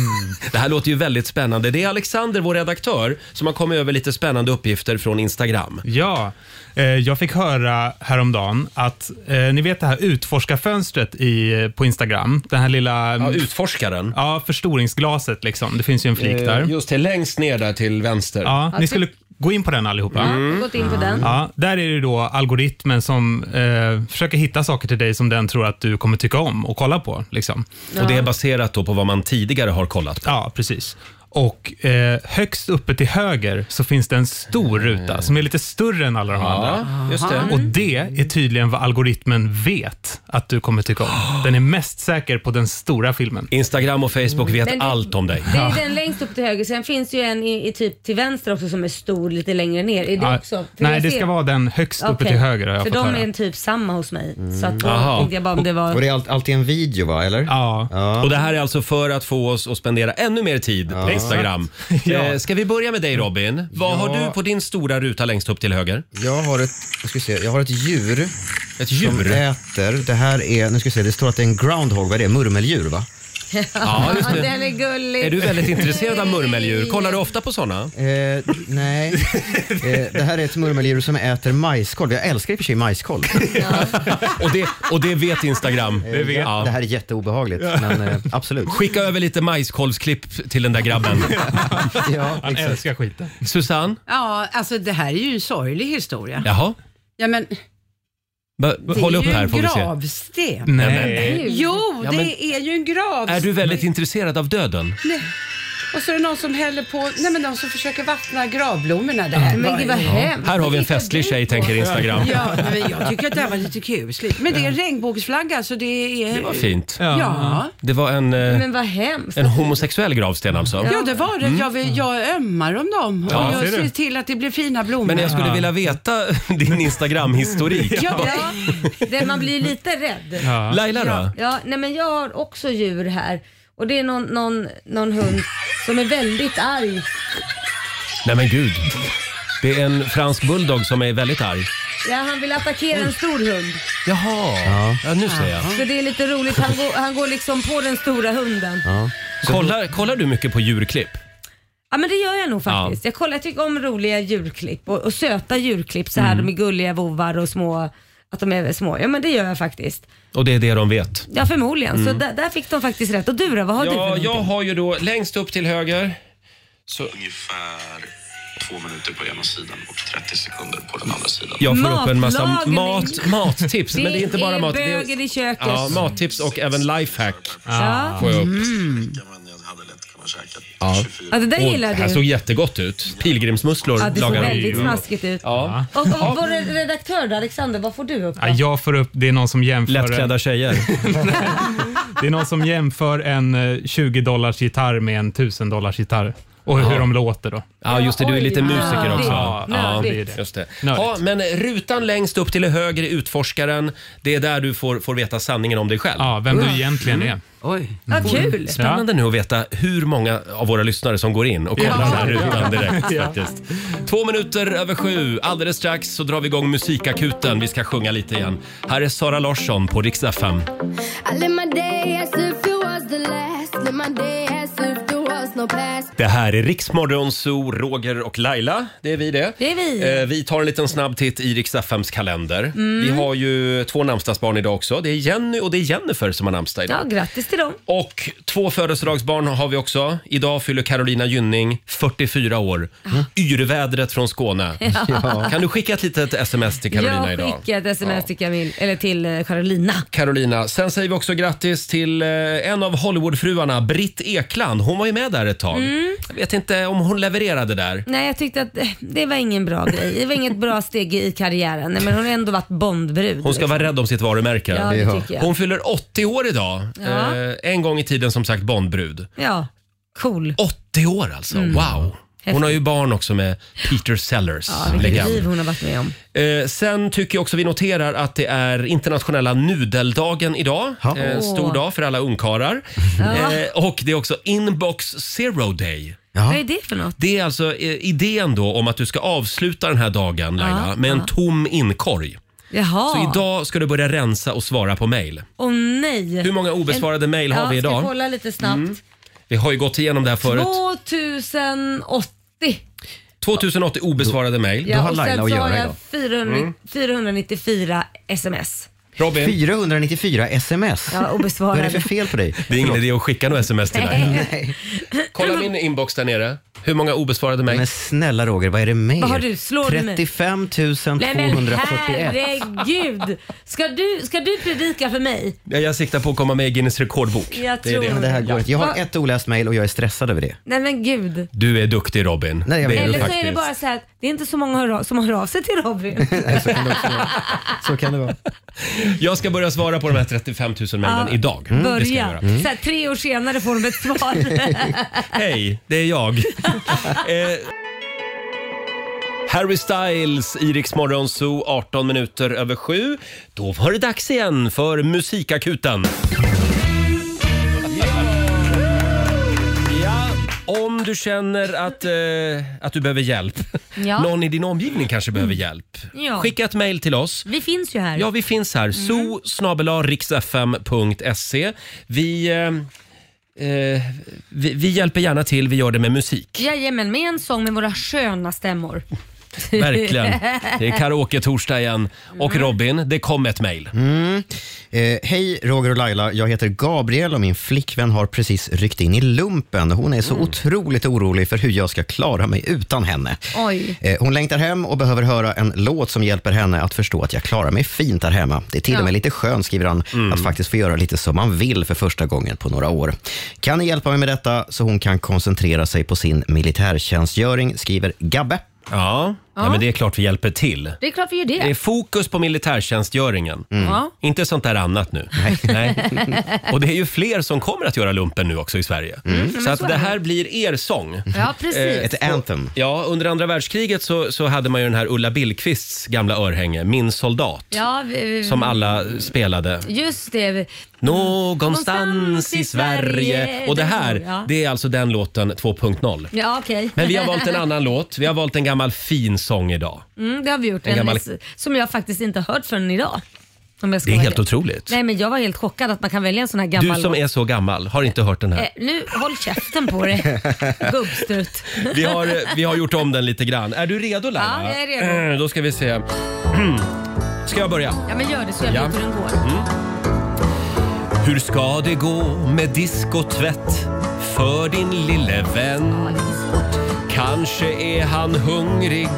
S1: Det här låter ju väldigt spännande. Det är Alexander, vår redaktör, som har kommit över lite spännande uppgifter från Instagram.
S8: Ja, eh, jag fick höra häromdagen att, eh, ni vet det här utforskarfönstret i, på Instagram, den här lilla
S1: Ja,
S2: Mm.
S1: utforskaren.
S8: ja, förstoringsglaset liksom, det finns ju en flik där.
S1: Eh, Just det, längst ner där till vänster.
S8: Ja,
S2: det-
S8: ni skulle gå in på den allihopa.
S2: Ja, Gått in på den.
S8: Ja, där är det då algoritmen som eh, försöker hitta saker till dig som den tror att du kommer tycka om och kolla på. Liksom.
S1: Och det är baserat då på vad man tidigare har kollat på.
S8: Ja, precis. Och eh, högst uppe till höger så finns det en stor ruta som är lite större än alla de andra.
S1: just det.
S8: Och det är tydligen vad algoritmen vet att du kommer tycka om. Den är mest säker på den stora filmen.
S1: Instagram och Facebook vet
S2: Mm. Men det-
S1: allt om dig.
S2: Det är den längst upp till höger. Sen finns det ju en i, i typ till vänster också som är stor lite längre ner. Är det
S8: Ja,
S2: också? För
S8: nej,
S2: jag
S8: det
S2: ser-
S8: ska vara den högst uppe
S2: Okej.
S8: till höger har jag
S2: För
S8: fått
S2: de
S8: höra. Mm.
S2: är en typ samma hos mig. Så att då
S1: Aha.
S2: tänkte jag bara om det var...
S6: Och det är allt- alltid en video, va? Eller?
S8: Ja.
S1: Och det här är alltså för att få oss att spendera ännu mer tid på Instagram.
S8: Ja.
S1: Eh, Ska vi börja med dig Robin? Vad har
S6: Ja.
S1: du på din stora ruta längst upp till höger?
S6: Jag har ett, jag ska se, jag har ett djur,
S1: Ett
S6: som
S1: djur?
S6: äter. Det här är, nu ska vi se, det står att det är en groundhog. Vad är det? Murmeldjur, va?
S1: Ja, just det.
S2: Den är gullig.
S1: Är du väldigt intresserad av murmeldjur? Kollar du ofta på såna?
S6: Eh, nej. Eh, det här är ett murmeldjur som äter majskolv. Jag älskar i och för sig majskolv.
S1: Och det, och det vet Instagram. Det vet.
S6: Det
S1: Ja.
S6: här är jätteobehagligt, men eh, absolut.
S1: Skicka över lite majskolvsklipp till den där grabben.
S6: Ja,
S8: Han
S6: exakt.
S8: älskar skiten.
S1: Susanne?
S5: Ja, alltså det här är ju en sorglig historia. Ja,
S1: Jaha?
S5: men
S1: Va-
S5: det
S1: Håll upp
S5: är ju
S1: här
S5: en
S1: får vi se.
S5: gravsten.
S8: Nej.
S5: Jo,
S1: Ja, men-
S5: det är ju en gravsten.
S1: Är du väldigt intresserad av döden?
S5: Och så är det någon som häller på, nej men någon som försöker vattna gravblommorna där.
S2: Men gud vad hemskt.
S1: Här har vi en
S2: Vad
S1: festlig
S2: tittar
S1: tjej
S2: du på?
S1: tänker Instagram.
S5: Ja, men jag tycker att det här var lite kusligt. Men det är en regnbågsflagga så det är...
S1: Det var fint.
S5: Ja.
S1: Det var en, eh,
S2: Men vad hemskt.
S1: en homosexuell gravsten alltså.
S5: Ja, det var det. Jag, vill, jag ömmar om dem och
S8: Ja,
S5: jag
S8: ser du.
S5: ser till att det blir fina blommor.
S1: Men jag skulle vilja veta din Instagram-historik.
S2: Ja, det, man blir lite rädd.
S8: Ja.
S1: Laila då?
S2: Ja, nej men jag har också djur här. Och det är någon, någon, någon hund som är väldigt arg.
S1: Nej men gud. Det är en fransk bulldog som är väldigt arg.
S2: Ja, han vill attackera en stor hund.
S1: Jaha, ja. nu ser jag.
S2: Så det är lite roligt. Han går, han går liksom på den stora hunden. Ja.
S1: Kollar, kollar du mycket på djurklipp?
S2: men det gör jag nog faktiskt. Jag kollar, jag tycker om roliga djurklipp och, och söta djurklipp så här.
S1: Mm.
S2: De är gulliga vovar och små. Att de är små. Ja men det gör jag faktiskt.
S1: Och det är det de vet.
S2: Ja förmodligen. Så där, där fick de faktiskt rätt. Och du då, vad har du för
S1: Mm. Ja,
S2: någonting?
S1: jag har ju då längst upp till höger. Så
S9: Ungefär två minuter på ena sidan och 30 sekunder på den andra sidan.
S1: jag får upp en massa
S2: Matlagning.
S1: mat, mattips.
S2: Det
S1: men det är inte bara
S2: är
S1: mat.
S2: bögen i köket.
S1: ja, mattips och även lifehack
S2: Ja.
S1: får jag upp.
S9: Men jag hade lätt kunnat käka
S1: Ja.
S9: 24
S2: ja, det där
S1: Och
S2: gillar
S1: det här
S2: du.
S1: såg jättegott ut. Pilgrimsmusslor
S2: Ja, det såg
S1: lagar de. Mm.
S2: väldigt smaskigt ut.
S1: Ja.
S2: Och, och vår redaktör då, Alexander, vad får du upp? då?
S8: Ja, jag får upp, det är någon som jämför en,
S1: Lättklädda tjejer.
S8: det är någon som jämför en eh, 20 dollars gitarr med en 1000 dollars gitarr. Och hur de låter då.
S1: Ja, just det. Du är lite
S2: Oj,
S1: musiker också.
S8: ja,
S1: Ja,
S2: nördigt.
S8: det.
S1: Just det.
S8: Nördigt.
S1: Ja, men rutan längst upp till höger i Utforskaren. Det är där du får, får veta sanningen om dig själv.
S8: Ja, vem du egentligen är.
S5: Oj.
S2: Vad kul!
S1: Spännande nu att veta hur många av våra lyssnare som går in och kollar den här rutan direkt. Faktiskt. Två minuter över sju. Alldeles strax så drar vi igång musikakuten. Vi ska sjunga lite igen. Här är Sara Larsson på Rix FM. Det här är Riksmorgon Zoo, Roger och Laila. Det är vi det.
S2: Det är vi. Mm.
S1: Eh, vi tar en liten snabb titt i Rix FMs kalender. Vi har ju två namnsdagsbarn idag också. Det är Jenny och det är Jennifer som har namnsdag idag.
S2: Ja, grattis till dem.
S1: Och två födelsedagsbarn har vi också. Idag fyller Carolina Gynning 44 år.
S2: Mm.
S1: Yrvädret från Skåne. Kan du skicka ett litet sms till Carolina
S2: jag
S1: idag?
S2: skickar ett sms till Camille, eller till eh, Carolina.
S1: Carolina. Sen säger vi också grattis till eh, en av Hollywoodfruarna, Britt Ekland. Hon var ju med där ett tag.
S2: Mm.
S1: Jag vet inte om hon levererade där.
S2: Nej, jag tyckte att eh, det var ingen bra grej. Det var inget bra steg i karriären. Nej, men hon har ändå varit Bondbrud.
S1: Hon ska vara rädd om sitt varumärke.
S2: Ja, det
S6: Ja.
S2: tycker jag.
S1: Hon fyller 80 år idag.
S2: Ja.
S1: Eh, en gång i tiden som sagt Bondbrud.
S2: Ja, cool.
S1: 80 år alltså,
S2: Mm.
S1: wow! Hon har ju barn också med Peter Sellers,
S2: Ja, vilket liv
S1: legend.
S2: hon har varit med om.
S1: Eh, sen tycker jag också vi noterar att det är internationella nudeldagen idag.
S6: Ja.
S1: Eh, stor
S2: Åh.
S1: dag för alla ungkarlar.
S2: Ja.
S1: Eh, och det är också inbox zero day.
S2: Vad
S6: Jaha.
S2: är det för något?
S1: Det är alltså eh, idén då om att du ska avsluta den här dagen Laila,
S2: Ja,
S1: med en
S2: ja.
S1: tom inkorg.
S2: Jaha.
S1: Så idag ska du börja rensa och svara på mejl.
S2: Åh nej.
S1: Hur många obesvarade mejl har
S2: ja,
S1: vi
S2: Ska
S1: idag? Mm.
S2: vi kolla lite snabbt.
S1: Vi har ju gått igenom det här förut.
S2: 2080.
S1: 2080 obesvarade mejl.
S6: har
S2: och
S6: Laila
S2: sen
S6: att
S2: så
S6: göra
S2: har jag
S6: idag.
S2: 400,
S1: Mm.
S2: 494 sms.
S1: Robin,
S6: 494 sms.
S2: Ja, obesvarade.
S6: Vad är det för fel på dig?
S1: det är ingen idé att skicka några sms till dig.
S6: Nej.
S1: Kolla min inbox där nere. Hur många obesvarade mejl?
S6: Men snälla Roger, vad är det med
S2: Vad har
S6: er?
S2: du? Slår du mig?
S6: 35
S2: Nej men
S6: 241.
S2: herregud! Ska du, ska du predika för mig?
S1: Ja, Jag siktar på att komma med i Guinness rekordbok.
S2: Jag
S1: är
S2: tror
S1: det.
S6: Men Det här går inte. Jag har
S2: Va?
S6: ett oläst mejl och jag är stressad över det.
S2: Nej men gud.
S1: Du är duktig Robin.
S6: Nej, jag
S1: det
S6: vet.
S1: är du
S2: Eller så är det
S1: faktiskt. Mm,
S2: bara så här att det är inte så många hör av, som hör av sig till Robin.
S6: Så kan det vara.
S1: Jag ska börja svara på de här 35 000 mejlen
S2: Ja,
S1: idag. Det ska jag
S2: Börja.
S1: göra. Mm.
S2: Så här, tre år senare får de ett svar.
S1: Hej, det är jag. eh, Harry Styles, Iriks morgonzoo, 18 minuter över sju. Då var det dags igen för Musikakuten. Ja, Om du känner att, eh, att du behöver hjälp,
S2: Ja.
S1: någon i din omgivning kanske behöver hjälp,
S2: Ja.
S1: skicka ett mejl till oss.
S2: Vi finns ju här.
S1: Ja, vi finns
S2: Mm.
S1: här. zoo riksfm.se. E. Vi, eh, eh, vi, vi hjälper gärna till. Vi gör det med musik.
S2: Jajamän, med en sång med våra sköna stämmor.
S1: Verkligen. Det är karaoke-torsdag igen. Och
S2: Mm.
S1: Robin, det kom ett mejl.
S6: Eh, Hej Roger och Laila, jag heter Gabriel och min flickvän har precis ryckt in i lumpen. Hon är så otroligt orolig för hur jag ska klara mig utan henne.
S2: Oj.
S6: Eh, Hon längtar hem och behöver höra en låt som hjälper henne att förstå att jag klarar mig fint här hemma. Det är till och med lite skönt, skriver han, att faktiskt få göra lite som man vill för första gången på några år. Kan ni hjälpa mig med detta så hon kan koncentrera sig på sin militärtjänstgöring, skriver Gabbe.
S1: Ja. ja, men det är klart vi hjälper till.
S2: Det är klart vi gör det.
S1: Det är fokus på militärtjänstgöringen.
S2: Ja.
S1: Inte sånt där annat nu. Mm. Nej. Och det är ju fler som kommer att göra lumpen nu också i Sverige. Så att det här blir er sång.
S2: Mm. ja,
S1: eh,
S2: precis.
S6: Ett anthem.
S1: Ja, under andra världskriget så, så hade man ju den här Ulla Billqvists gamla örhänge, Min soldat,
S2: Ja, vi- vi-
S1: som alla spelade.
S2: just det.
S1: Någonstans i Sverige. Och det här,
S2: Ja.
S1: det är alltså den låten 2.0.
S2: Ja, okej.
S1: Men vi har valt en annan låt. Vi har valt en gammal fin sång idag.
S2: Mm, det har vi gjort.
S1: En
S2: En
S1: gammal-
S2: viss- Som jag faktiskt inte hört förrän idag. Om jag ska
S1: Det är
S2: vara
S1: helt
S2: ärlig.
S1: otroligt.
S2: Nej, men jag var helt chockad att man kan välja en sån här
S1: Du
S2: gammal
S1: som
S2: låt.
S1: är så gammal har inte hört den här.
S2: Eh, nu, håll käften på dig, gubbstrut.
S1: Vi har, eh, vi har gjort om den lite grann. Är du redo Laila?
S2: Ja, jag är redo.
S1: Eh, Då ska vi se. Ska jag börja?
S2: Ja, men gör det så jag
S1: Ja.
S2: vet hur den går.
S1: Hur ska det gå med disk och tvätt för din lille vän? Kanske är han hungrig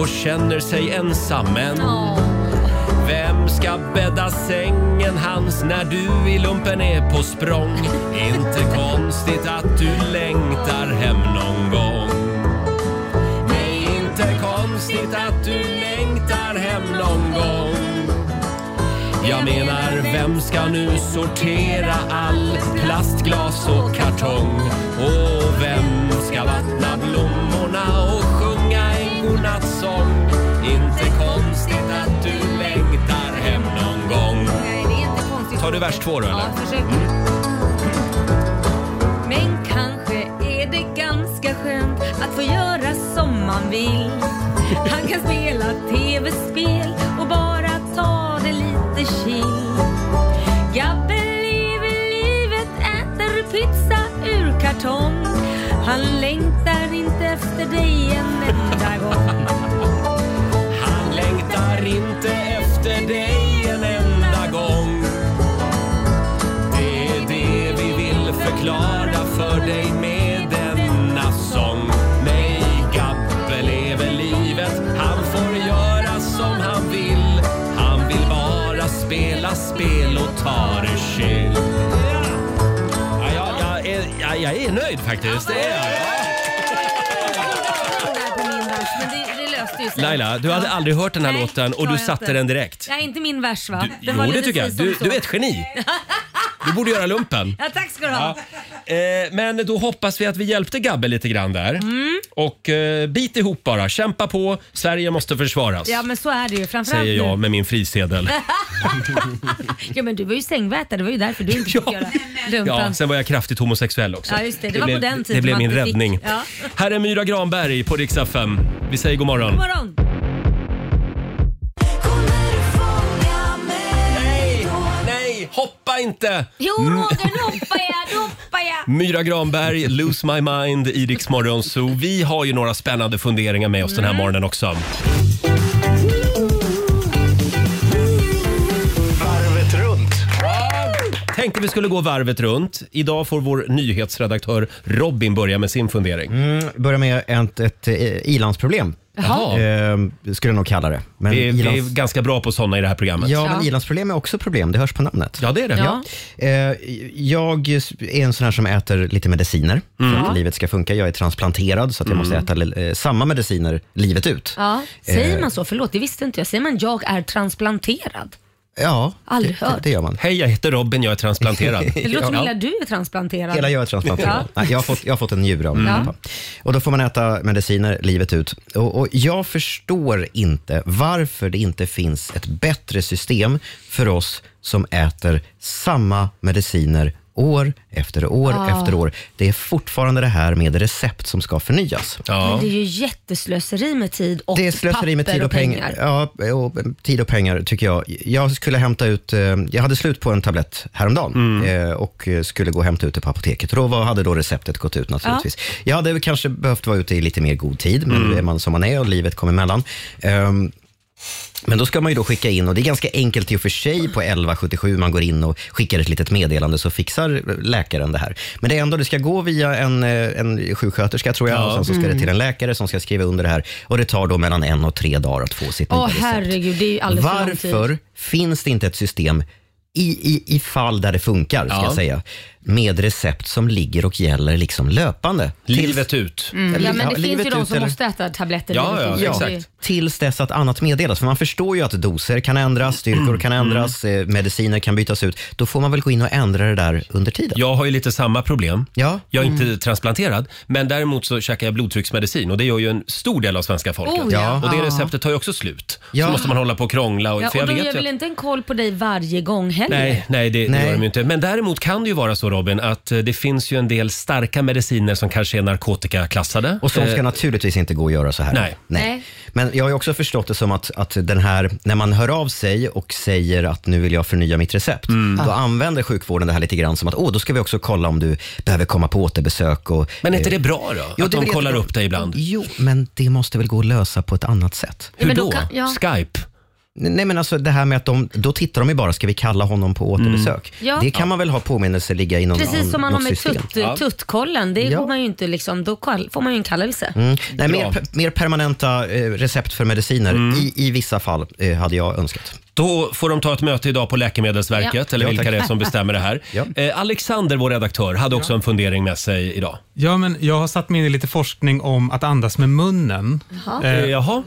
S1: och känner sig ensam men Vem ska bädda sängen hans när du i lumpen är på språng? Inte konstigt att du längtar hem någon gång Nej, inte konstigt att du längtar hem någon gång jag menar, vem ska nu sortera all plast, glas och kartong? Och vem ska vattna blommorna och sjunga en godnattsång? Inte konstigt att du längtar hem någon gång.
S2: Nej, det är inte konstigt.
S1: Tar du vers två då, eller? Mm.
S2: Ja, försök. Men kanske är det ganska skönt att få göra som man vill. Han kan spela tv-spel och bara ta det lite chill. Gabbe lever livet, äter pizza ur kartong. Han längtar inte efter dig en enda gång.
S1: Han längtar inte efter dig en enda gång. Det är det vi vill förklara för dig med denna sång. Nej, Gabbe lever livet, han får göra som han vill. Han vill bara spela spel och ta det chill. Ja, ja, jag, är, ja, jag är nöjd faktiskt. Det är jag.
S2: där på min vers, men det, det löste ju sig.
S1: Laila, du hade aldrig hört den här
S2: Nej,
S1: låten och du
S2: klarar jag
S1: satte
S2: inte.
S1: den direkt.
S2: Nej, inte min vers va?
S1: Jo,
S2: Den var
S1: det
S2: lite
S1: tycker jag.
S2: si som
S1: Du,
S2: så.
S1: du är ett geni. Du borde göra lumpen.
S2: Ja, tack ska du ha.
S1: Ja. Eh, men då hoppas vi att vi hjälpte Gabbe lite grann där.
S2: Mm.
S1: Och eh, bit ihop bara, kämpa på. Sverige måste försvaras.
S2: Ja men så är det ju. Framförallt
S1: Säger jag
S2: nu.
S1: med min frisedel.
S2: Ja men du var ju sängvätare, det var ju därför du inte fick
S1: Ja.
S2: göra
S1: Ja,
S2: lumpen.
S1: sen var jag kraftigt homosexuell också.
S2: Ja, just det. Det var på
S1: blev,
S2: den tiden
S1: Det blev
S2: man
S1: min
S2: inte fick-
S1: räddning.
S2: Ja.
S1: Här är Myra Granberg på Rix FM. Vi säger god morgon.
S2: God morgon!
S1: Nej, nej, hoppa inte!
S2: Jo Roger, nu hoppar jag, nu hoppar jag.
S1: Myra Granberg, Lose My Mind, i Rix Morgon Zoo. Vi har ju några spännande funderingar med oss den här morgonen också.
S3: Varvet runt.
S1: Tänkte vi skulle gå varvet runt. Idag får vår nyhetsredaktör Robin börja med sin fundering.
S6: Mm. Börja med ett, ett eh, i-landsproblem,
S1: Jaha.
S6: eh, skulle jag nog kalla det. Men
S1: Vi, är, vi
S6: i-lands-
S1: är ganska bra på sådana i det här programmet.
S6: Ja, men
S2: Ja.
S6: i-landsproblem är också problem. Det hörs på namnet.
S1: Ja, det är det.
S2: Ja.
S6: Eh, Jag är en sån här som äter lite mediciner för att livet ska funka. Jag är transplanterad så att jag måste äta eh, samma mediciner livet ut.
S2: Ja, säger
S6: Eh.
S2: man så? Förlåt, det visste inte jag. Säger man jag är transplanterad?
S6: Ja,
S2: Aldrig
S6: det,
S2: hört.
S6: det gör man.
S1: Hej, jag heter Robin, jag är transplanterad.
S2: Det låter som
S6: Ja.
S2: hela du är transplanterad.
S6: Hela jag är transplanterad.
S2: Ja.
S6: Nej, jag, har fått, jag har fått en njure av min pappa. Och då får man äta mediciner livet ut. Och, och jag förstår inte varför det inte finns ett bättre system för oss som äter samma mediciner år efter år efter år. Det är fortfarande det här med recept som ska förnyas.
S2: Men
S1: Ja.
S2: det är ju jätteslöseri med tid och
S6: Det är slöseri med
S2: papper
S6: tid och pengar. Ja, och eh, tid och pengar tycker jag. Jag skulle hämta ut, eh, jag hade slut på en tablett häromdagen eh, och eh, skulle gå och hämta ut det på apoteket. Och då var, hade då receptet gått ut naturligtvis. Jag hade väl kanske behövt vara ute i lite mer god tid, men nu är man som man är och livet kommer emellan. Ehm, men då ska man ju då skicka in, och det är ganska enkelt i och för sig på 1177, man går in och skickar ett litet meddelande så fixar läkaren det här. Men det är ändå, det ska gå via en, eh, en sjuksköterska tror jag, och sen så ska
S2: Mm.
S6: det till en läkare som ska skriva under det här. Och det tar då mellan en och tre dagar att få sitt
S2: Åh
S6: nya recept.
S2: herregud, det är ju alldeles för lång tid.
S6: Varför finns det inte ett system i, i, i fall där det funkar, ska
S1: Ja.
S6: jag säga, med recept som ligger och gäller liksom löpande?
S1: Livet ut.
S2: Mm. Ja, men det
S6: Ja,
S2: finns
S6: livet
S2: ju de
S6: ut,
S2: som
S6: eller?
S2: måste äta tabletter.
S1: Ja,
S2: livet
S1: ja,
S2: ut.
S1: exakt.
S2: Det är-
S6: tills dess att annat meddelas. För man förstår ju att doser kan ändras, styrkor kan ändras, eh, mediciner kan bytas ut. Då får man väl gå in och ändra det där under tiden.
S1: Jag har ju lite samma problem.
S6: Ja.
S1: Jag är inte transplanterad, men däremot så käkar jag blodtrycksmedicin och det gör ju en stor del av svenska folket.
S2: Oh, ja.
S1: Och det receptet tar ju också slut.
S6: Ja.
S1: Så måste man hålla på och krångla. Och,
S2: Ja,
S1: för jag
S2: och de
S1: vet
S2: gör
S1: ju
S2: väl
S1: att-
S2: inte en koll på dig varje gång heller?
S1: Nej, nej, det, det
S6: Nej.
S1: gör de ju inte. Men däremot kan det ju vara så Robin att eh, det finns ju en del starka mediciner som kanske är narkotikaklassade.
S6: Och sånt ska
S1: Eh,
S6: naturligtvis inte gå att göra så här.
S1: Nej.
S2: Nej.
S6: Men jag har ju också förstått det som att, att den här, när man hör av sig och säger att nu vill jag förnya mitt recept,
S1: Mm.
S6: då använder sjukvården det här lite grann som att åh, då ska vi också kolla om du behöver komma på återbesök. Och,
S1: Men är inte
S6: eh,
S1: det bra då?
S6: jo,
S1: att
S6: det är
S1: de
S6: väl
S1: kollar
S6: jättebra.
S1: upp dig ibland?
S6: Jo, men det måste väl gå att lösa på ett annat sätt.
S1: Hur
S2: men
S1: då?
S2: då kan- ja.
S1: Skype?
S6: Nej men alltså det här med att de, då tittar de ju bara, ska vi kalla honom på återbesök?
S2: Mm. Ja.
S6: Det kan man väl ha påminnelser ligga inom
S2: Precis som man har
S6: något
S2: med
S6: system.
S2: tutt, tuttkollen, det
S6: Ja.
S2: går man ju inte liksom, då kall- får man ju en kallelse.
S6: Mm. Nej,
S1: Bra.
S6: mer, pe- mer permanenta eh, recept för mediciner i, i vissa fall eh, hade jag önskat.
S1: Då får de ta ett möte idag på Läkemedelsverket, eller
S6: Ja,
S1: vilka
S6: tack.
S1: det är som bestämmer det här.
S6: Ja.
S1: Eh, Alexander, vår redaktör, hade också en fundering med sig idag.
S8: Ja, men jag har satt mig in i lite forskning om att andas med munnen. Eh,
S1: Eh, jaha,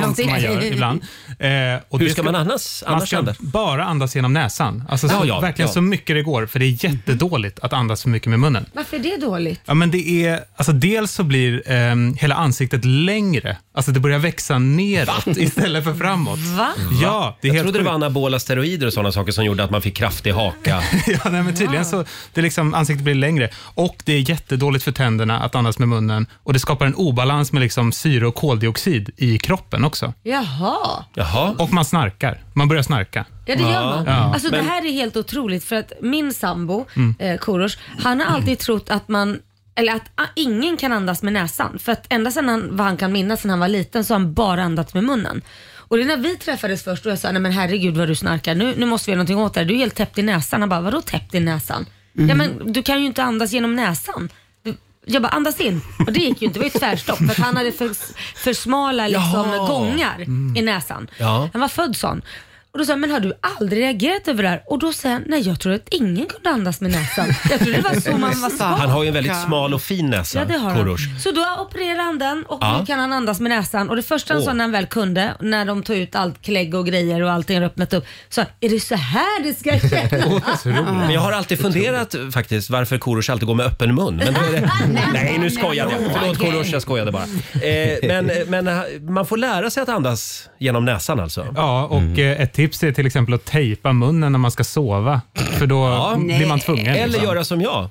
S8: Sånt som man gör ibland. Eh, och
S1: hur
S8: det
S1: ska man annars,
S8: Man
S1: annars
S8: ska
S1: Anders?
S8: bara andas genom näsan. Alltså så,
S1: Ja, ja,
S8: verkligen
S1: ja.
S8: så mycket det går, för det är jättedåligt att andas för mycket med munnen.
S2: Varför är det dåligt?
S8: Ja, men det är, alltså dels så blir ehm, hela ansiktet längre. Alltså det börjar växa neråt istället för framåt.
S2: Va?
S8: Ja, det är
S1: Jag
S8: helt
S1: trodde det var
S8: sjukt.
S1: anabola steroider och sådana saker som gjorde att man fick kraftig haka.
S8: Ja, nej, men tydligen så, det är liksom, ansiktet blir längre och det är jättedåligt för tänderna att andas med munnen och det skapar en obalans med liksom syre och koldioxid i kroppen också.
S2: Jaha,
S1: Jaha.
S8: Och man snarkar. Man börjar snarka.
S2: ja det gör man.
S1: Ja.
S2: Alltså det här är helt otroligt för att min sambo,
S1: Mm.
S2: eh, Korosh, han har alltid trott att man eller att ah, ingen kan andas med näsan. För att ända sedan han, vad han kan minnas när han var liten så har han bara andats med munnen. Och det är när vi träffades först och jag sa, nej men herregud vad du snarkar, nu, nu måste vi göra någonting åt det här. Du är helt täppt i näsan. Han bara, vadå täppt i näsan? Ja men du kan ju inte andas genom näsan. Du- Jag bara, andas in. Och det gick ju inte, det var ju tvärstopp. För att han hade för, för smala liksom,
S1: Jaha.
S2: gångar i näsan.
S1: Mm. Ja.
S2: Han var född sån. Och Och då sa jag, men har du aldrig reagerat över det här? Och då sa jag, nej jag tror att ingen kunde andas med näsan. Jag tror det var så man var skapad.
S1: Han har ju en väldigt smal och fin
S2: Ja,
S1: näsa,
S2: det har
S1: Korosh.
S2: han. Så då opererade han den och
S1: Ja.
S2: nu kan han andas med näsan. Och det första han
S1: Åh.
S2: sa när han väl kunde, när de tog ut allt klägg och grejer och allting har öppnat upp, sa han, är det så här det ska kännas?
S1: Men jag har alltid funderat faktiskt varför Korosh alltid går med öppen mun. Men då är det... Nej, nu skojade jag. Förlåt Korosh, jag skojade bara. Eh, men, men eh, man får lära sig att andas genom näsan alltså.
S8: Ja, och eh, ett tips är till exempel att tejpa munnen när man ska sova. För då blir man tvungen.
S1: Eller
S8: liksom.
S1: göra som jag.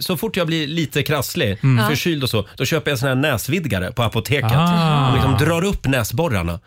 S1: Så fort jag blir lite krasslig,
S8: Mm.
S1: förkyld och så, då köper jag sån här näsvidgare på apoteket.
S8: Ah.
S1: Man liksom drar upp näsborrarna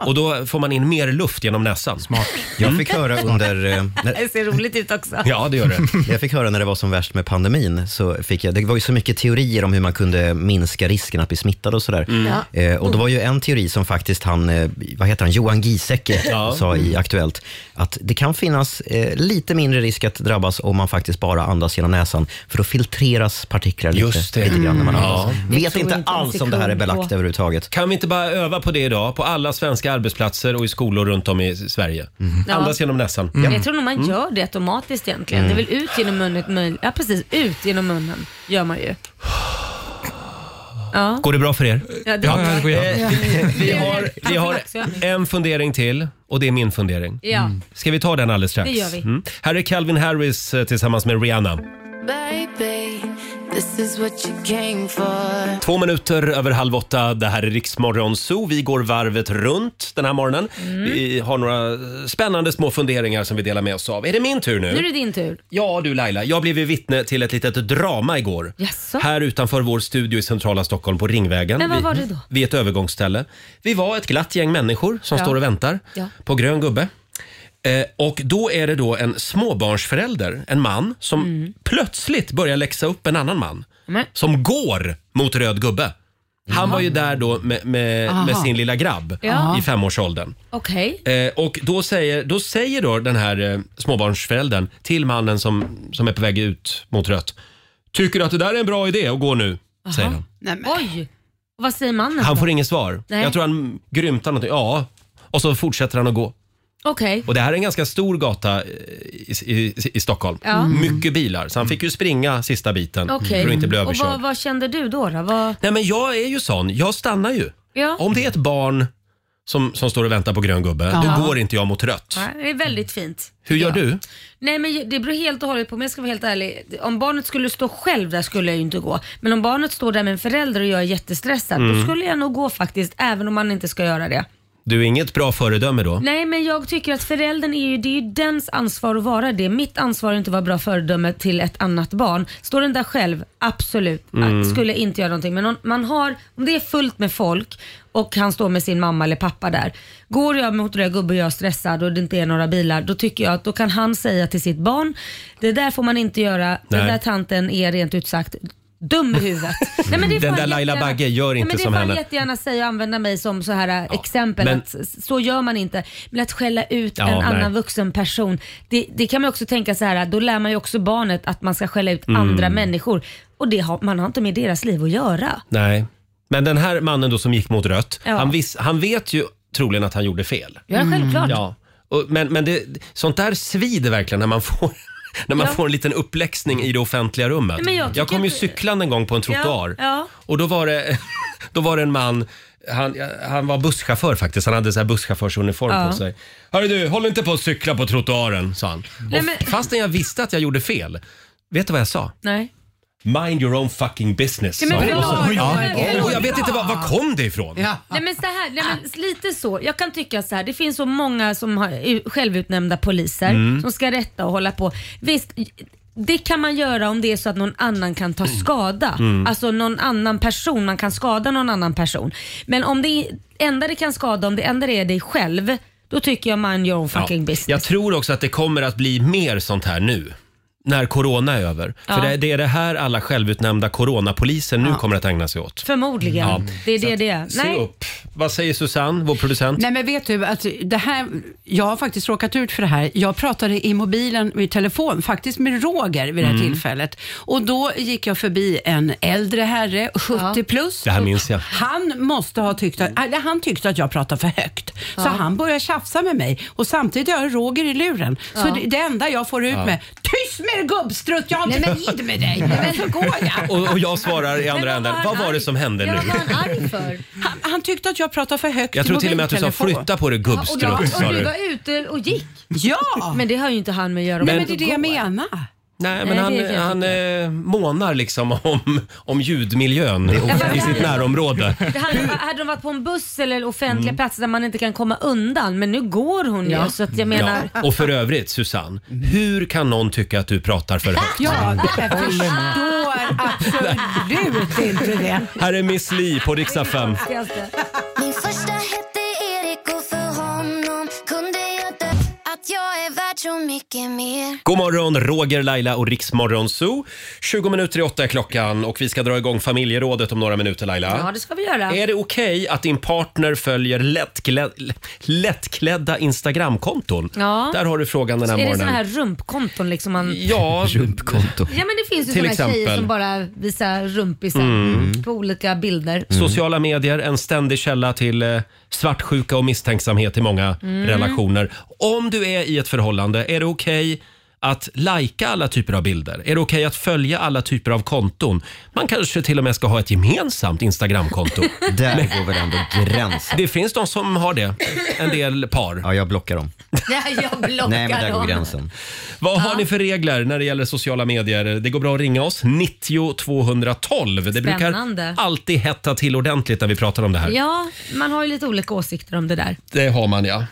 S1: och då får man in mer luft genom näsan. Smart.
S6: Jag fick höra under... eh, när-
S2: Det ser roligt ut också.
S1: Ja, det gör det.
S6: Jag fick höra när det var som värst med pandemin, så fick jag, det var ju så mycket teorier om hur man kunde minska risken att bli smittad och sådär.
S1: Mm.
S6: Eh, och det var ju en teori som faktiskt han, eh, vad heter han, Johan Giesecke
S1: Ja. Mm.
S6: sa i Aktuellt, att det kan finnas eh, lite mindre risk att drabbas om man faktiskt bara andas genom näsan, för då filtreras partiklar lite,
S1: Just det. Mm.
S6: lite grann när man andas. Vet
S2: tror
S6: inte
S2: inte en
S6: alls om det här är
S2: sekund
S6: belagt
S2: på.
S6: överhuvudtaget.
S1: Kan vi inte bara öva på det idag på alla svenska arbetsplatser och i skolor runt om i Sverige?
S8: Mm.
S1: Andas genom näsan.
S2: Men Jag tror nog
S1: Mm.
S2: man gör det automatiskt egentligen. Det är väl ut genom munnen, möj- ja precis, ut genom munnen gör man ju. Ja,
S1: Går det bra för er? Eh,
S2: ja det
S8: Ja, ja, det går jättebra.
S1: Vi har, vi har en fundering till och det är min fundering.
S2: Ja,
S1: Ska vi ta den alldeles strax? Mm.
S2: Det gör vi.
S1: Här är Calvin Harris eh, tillsammans med Rihanna.
S7: Baby, this is what you came for.
S1: Två minuter över halv åtta. Det här är Riksmorgon Zoo. Vi går varvet runt den här morgonen.
S2: Mm.
S1: Vi har några spännande små funderingar som vi delar med oss av. Är det min tur nu?
S2: nu är det din tur.
S1: Ja du Laila, jag blev ju vittne till ett litet drama igår.
S2: Jaså?
S1: Här utanför vår studio i centrala Stockholm på Ringvägen.
S2: Men vad
S1: Vi-
S2: var det då?
S1: Vid ett övergångsställe. Vi var ett glatt gäng människor som
S2: Ja.
S1: står och väntar
S2: Ja.
S1: på grön gubbe. Eh, och då är det då en småbarnsförälder, en man, som
S2: Mm.
S1: plötsligt börjar läxa upp en annan man.
S2: Men-
S1: Som går mot röd gubbe. Han var ju där då med, med, med sin lilla grabb
S2: Ja.
S1: i femårsåldern.
S2: Okej.
S1: Eh, och då säger, då säger då den här eh, småbarnsföräldern till mannen som, som är på väg ut mot rött. Tycker du att det där är en bra idé att gå nu? Säger han.
S5: Nej, men.
S2: Oj! Och vad säger mannen?
S1: Han
S2: då?
S1: får inget svar.
S2: Nej.
S1: Jag tror han grymtar någonting. Ja. Och så fortsätter han att gå.
S2: Okej.
S1: Och det här är en ganska stor gata eh, i, i, i Stockholm.
S2: Ja. Mm.
S1: Mycket bilar. Så han fick ju springa sista biten
S2: Okej.
S1: för att inte bli
S2: Och
S1: överkörd.
S2: vad, vad kände du då? då? Vad,
S1: Nej men jag är ju sån. Jag stannar ju.
S2: ja.
S1: Om det är ett barn som, som står och väntar på grön gubbe, då går inte jag mot rött.
S2: Nej, Det är väldigt fint.
S1: Hur gör du?
S2: Nej men det beror helt och hållet på, men jag ska vara helt ärlig. Om barnet skulle stå själv där skulle jag ju inte gå. Men om barnet står där med en förälder och jag är jättestressad,
S1: Mm.
S2: då skulle jag nog gå faktiskt, även om man inte ska göra det.
S1: Du är inget bra föredöme då?
S2: Nej men jag tycker att föräldern är ju, det är ju dens ansvar att vara det. Mitt ansvar är inte att vara bra föredöme till ett annat barn. Står den där själv, absolut.
S1: Mm.
S2: Att- Skulle inte göra någonting. Men om, man har, om det är fullt med folk och han står med sin mamma eller pappa där. Går jag mot röd gubbe och jag är stressad och det inte är några bilar, då tycker jag att då kan han säga till sitt barn, det där får man inte göra, den
S1: Nej.
S2: där tanten är rent ut sagt dum i huvudet. Nej, men det får
S1: Den
S2: han
S1: där Laila
S2: jättegärna-
S1: Bagge gör
S2: Nej,
S1: inte
S2: men det
S1: som
S2: får han
S1: henne.
S2: jättegärna säga och använda mig som så här äh, exempel.
S1: men-
S2: att s- så gör man inte. Men att skälla ut
S1: Ja,
S2: en
S1: nej.
S2: annan vuxen person, det, det kan man ju också tänka så här, då lär man ju också barnet att man ska skälla ut andra
S1: Mm.
S2: människor. Och det har, man har inte med deras liv att göra.
S1: Nej. Men den här mannen då som gick mot rött,
S2: Ja.
S1: han, vis, han vet ju troligen att han gjorde fel.
S2: Ja, självklart.
S1: Mm, Ja. Och, men men det, sånt där svider verkligen när man får när man får en liten uppläxning i det offentliga rummet.
S2: Men jag
S1: jag,
S2: tycker
S1: kom ju
S2: att-
S1: cyklande en gång på en trottoar
S2: Ja, ja.
S1: och då var det, då var det en man han, han var busschaufför faktiskt. Han hade så här busschaufförsuniform
S2: Ja.
S1: på sig. Hörru du, håll inte på att cykla på trottoaren, sa han.
S2: Nej,
S1: och
S2: men-
S1: fastän jag visste att jag gjorde fel, vet du vad jag sa?
S2: Nej.
S1: Mind your own fucking business.
S2: Ja, men
S1: sa jag.
S2: förlåt.
S1: Och så-
S2: Ja,
S1: Oj,
S2: men förlåt.
S1: jag vet inte, var, var kom det ifrån?
S5: Ja.
S2: Nej men, så här, nej men lite så. Jag kan tycka så här. det finns så många som har är självutnämnda poliser
S1: Mm.
S2: som ska rätta och hålla på. Visst, det kan man göra om det är så att någon annan kan
S1: Mm.
S2: ta skada. Alltså någon annan person, man kan skada någon annan person. Men om det enda det kan skada, om det enda det är dig själv, då tycker jag man your own fucking
S1: Ja.
S2: business.
S1: Jag tror också att det kommer att bli mer sånt här nu. när corona är över.
S2: Ja.
S1: För det, det är det här alla självutnämnda coronapoliser nu kommer att ägna sig åt.
S2: Förmodligen.
S1: Ja.
S2: Det är det det är.
S1: Se upp. Vad säger Susanne, vår producent?
S10: Nej men vet du, att det här, jag har faktiskt råkat ut för det här. Jag pratade i mobilen, i telefon, faktiskt med Roger vid det
S1: Mm.
S10: här tillfället. Och då gick jag förbi en äldre herre, 70 plus.
S1: Det här minns jag.
S10: Han måste ha tyckt att,
S1: Mm.
S10: eller han tyckte att jag pratade för högt. Så han började tjafsa med mig och samtidigt har jag Roger i luren. Så det, det enda jag får ut med, tyst med dig gubbstrutt, jag har inte tid med dig. Men så går jag.
S1: Och, och jag svarar i andra änden. Vad var det som hände
S2: Ja,
S1: nu?
S2: vad var han arg för?
S10: Han, han tyckte att jag pratade för högt
S1: Jag
S10: i
S1: tror till och med att du sa
S10: mobiltelefon.
S1: flytta på dig
S2: Och du,
S1: gubbstrutt. sa
S2: och du
S1: du.
S2: var ute och gick.
S10: Ja!
S2: Men det har ju inte han med att göra.
S10: Nej,
S2: Om
S10: men det är det jag
S2: går.
S10: menar.
S1: Nej, men
S2: Nej,
S1: han,
S2: det
S1: han
S2: är jag
S1: eh, månar liksom om, om ljudmiljön i sitt närområde.
S2: Det hade, hade de varit på en buss eller offentliga platser där man inte kan komma undan, men nu går hon ju. Så att jag menar,
S1: Ja. Och för övrigt, Susanne, hur kan någon tycka att du pratar för högt?
S10: Ja, jag förstår absolut inte det.
S1: Här är Miss Li på riksdag 5.
S7: Min första hette Erik och för honom kunde jag dö att jag är värd så mycket mer.
S1: God morgon, Roger, Laila och Riksmorgon Zoo. 20 minuter i åtta är klockan och vi ska dra igång familjerådet om några minuter, Laila.
S2: ja det ska vi göra.
S1: Är det okej att din partner följer lättkläd, lättklädda Instagramkonton?
S2: Ja.
S1: Där har du frågan den här
S2: Är det
S1: morgonen.
S2: sådana här rumpkonton liksom man...
S1: Ja,
S6: Rumpkonto.
S2: Ja men det finns ju
S1: Till
S2: sådana tjejer
S1: exempel.
S2: som bara visar rumpisar på olika bilder.
S1: sociala medier, en ständig källa till eh, svartsjuka och misstänksamhet i många
S2: Mm.
S1: relationer. Om du är i ett förhållande, är det okej att lajka alla typer av bilder? Är det okej att följa alla typer av konton? Man kanske till och med ska ha ett gemensamt Instagramkonto.
S6: Där går väl ändå gränsen.
S1: det finns de som har det, en del par.
S6: Ja, jag blockar dem.
S2: Ja, jag blockar
S6: Nej, men där går
S2: dem.
S6: gränsen.
S1: Vad har ni för regler när det gäller sociala medier? Det går bra att ringa oss, 90 212. Det brukar
S2: Spännande.
S1: alltid hetta till ordentligt när vi pratar om det här.
S2: Ja, man har ju lite olika åsikter om det där.
S1: Det har man ja.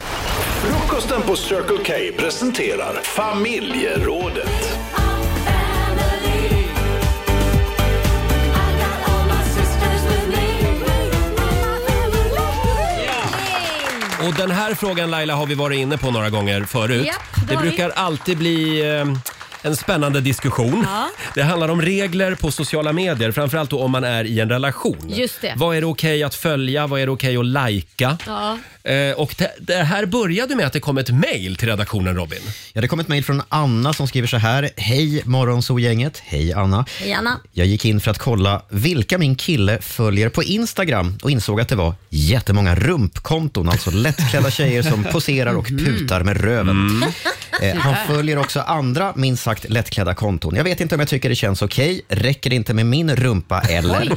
S3: Frukosten på Circle K presenterar familjerådet.
S1: Och den här frågan Laila har vi varit inne på några gånger förut.
S2: Japp, det
S1: det
S2: har
S1: brukar alltid bli eh, en spännande diskussion. Det handlar om regler på sociala medier, framförallt då om man är i en relation.
S2: Just det.
S1: Vad är det okej att följa? Vad är det okej att lajka?
S2: Ja.
S1: Eh, och det, det här började med att det kom ett mejl till redaktionen Robin.
S6: Ja, det kom ett mejl från Anna som skriver så här. Hej Morgonzoo-gänget. Hej Anna.
S2: Hej, Anna.
S6: Jag gick in för att kolla vilka min kille följer på Instagram och insåg att det var jättemånga rumpkonton, alltså lättklädda tjejer som poserar och putar med röven. Eh, han följer också andra minst sagt lättklädda konton. Jag vet inte om jag tycker det känns okej. Räcker det inte med min rumpa eller?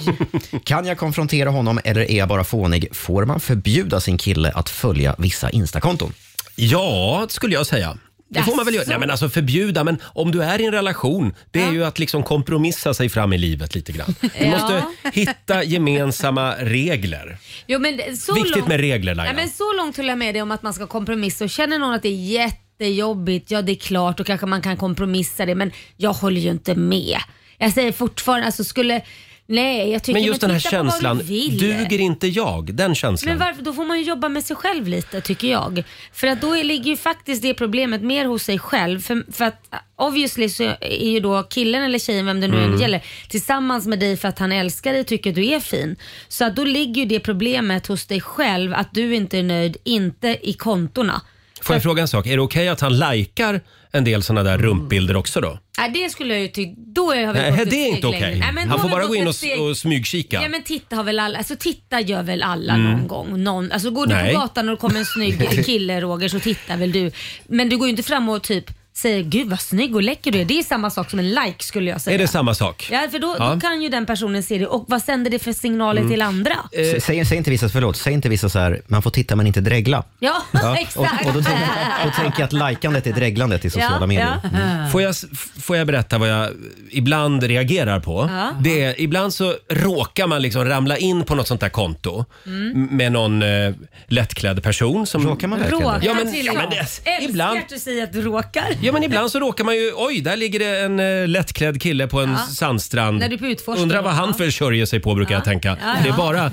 S6: Kan jag konfrontera honom eller är jag bara fånig? Får man förbjuda sin kille att följa vissa Instakonton?
S1: Ja, skulle jag säga. Det får man väl göra.
S2: Jaså?
S1: Nej, men alltså förbjuda, men om du är i en relation, det är ju att liksom kompromissa sig fram i livet lite grann. Du
S2: Ja.
S1: måste hitta gemensamma regler.
S2: Jo, men det- så
S1: Viktigt
S2: långt,
S1: med regler, Laila.
S2: Nej, men Så långt håller jag med dig om att man ska kompromissa. Och känner någon att det är jättejobbigt, ja det är klart, då kanske man kan kompromissa det. Men jag håller ju inte med. Jag säger fortfarande, alltså skulle... Nej, jag tycker
S1: Men just den här
S2: titta på vad
S1: känslan,
S2: du vill.
S1: duger inte jag? Den känslan.
S2: Men varför, då får man ju jobba med sig själv lite tycker jag. För att då är- ligger ju faktiskt det problemet mer hos sig själv. För, för att obviously så är ju då killen eller tjejen, vem det nu
S1: Mm.
S2: än gäller, tillsammans med dig för att han älskar dig och tycker att du är fin. Så att då ligger ju det problemet hos dig själv att du inte är nöjd, inte i kontona.
S1: Får jag fråga en sak? Är det okej att han likar en del såna
S2: Mm.
S1: där rumpbilder också då?
S2: Nej, Äh, det skulle jag ju tycka, då har vi gått
S1: Nej,
S2: ett
S1: det är
S2: steg
S1: inte
S2: längre.
S1: okej.
S2: Nej, men
S1: Han
S2: då har
S1: får
S2: vi
S1: bara
S2: gått
S1: gå in
S2: ett
S1: och,
S2: steg-
S1: och smygkika.
S2: Ja men titta har väl alla, alltså titta gör väl alla någon gång. Någon, alltså går du
S1: Mm. Nej.
S2: på gatan och det kommer en snygg kille Roger så tittar väl du. Men du går ju inte fram och typ säger gud vad snygg och läcker du är. Det är samma sak som en like skulle jag säga.
S1: Är det samma sak?
S2: Ja för då,
S1: Ja. Mm. Eh,
S2: då kan ju den personen se det och vad sänder det för signaler till andra?
S6: S- Säg, säg inte vissa, förlåt, säg inte vissa så här, man får titta men inte dregla.
S2: Ja,
S6: och,
S2: exakt.
S6: och då, tänker, då tänker jag att lajkandet är dreglandet i sociala
S2: Ja,
S6: medier.
S2: ja.
S6: Mm.
S1: Äh. Får jag, får jag berätta vad jag ibland reagerar på? Det är, ibland så råkar man liksom ramla in på något sånt där konto
S2: Mm.
S1: m- med någon eh, lättklädd person. Som,
S6: Råkar man verkligen
S2: Råkar
S6: det?
S1: Ja, men-
S2: till
S1: ja,
S2: och med.
S1: men det-
S2: Älskar
S1: ibland-
S2: att du säger att du råkar.
S1: Ja, men ibland så råkar man ju... Oj, där ligger det en eh, lättklädd kille på en
S2: Ja.
S1: sandstrand.
S2: När du är på utforskning.
S1: Undrar vad han
S2: Ja.
S1: försörjer sig på, brukar jag tänka.
S2: Ja,
S1: Det är
S2: ja.
S1: bara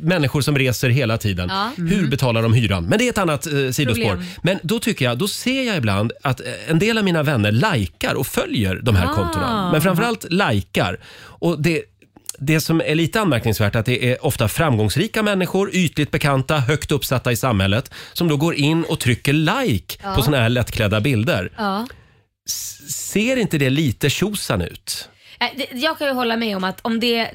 S1: människor som reser hela tiden.
S2: Ja.
S1: Hur
S2: Mm.
S1: betalar de hyran? Men det är ett annat eh, sidospår.
S2: Problem.
S1: Men då tycker jag, då ser jag ibland att eh, en del av mina vänner likar och följer de här
S2: Ah.
S1: kontona. Men framförallt likar. Och det, det som är lite anmärkningsvärt är att det är ofta framgångsrika människor, ytligt bekanta, högt uppsatta i samhället som då går in och trycker like
S2: Ja.
S1: på såna här lättklädda bilder.
S2: Ja.
S1: Ser inte det lite tjosan ut?
S2: Nej, Eh, det- Jag kan ju hålla med om att om det är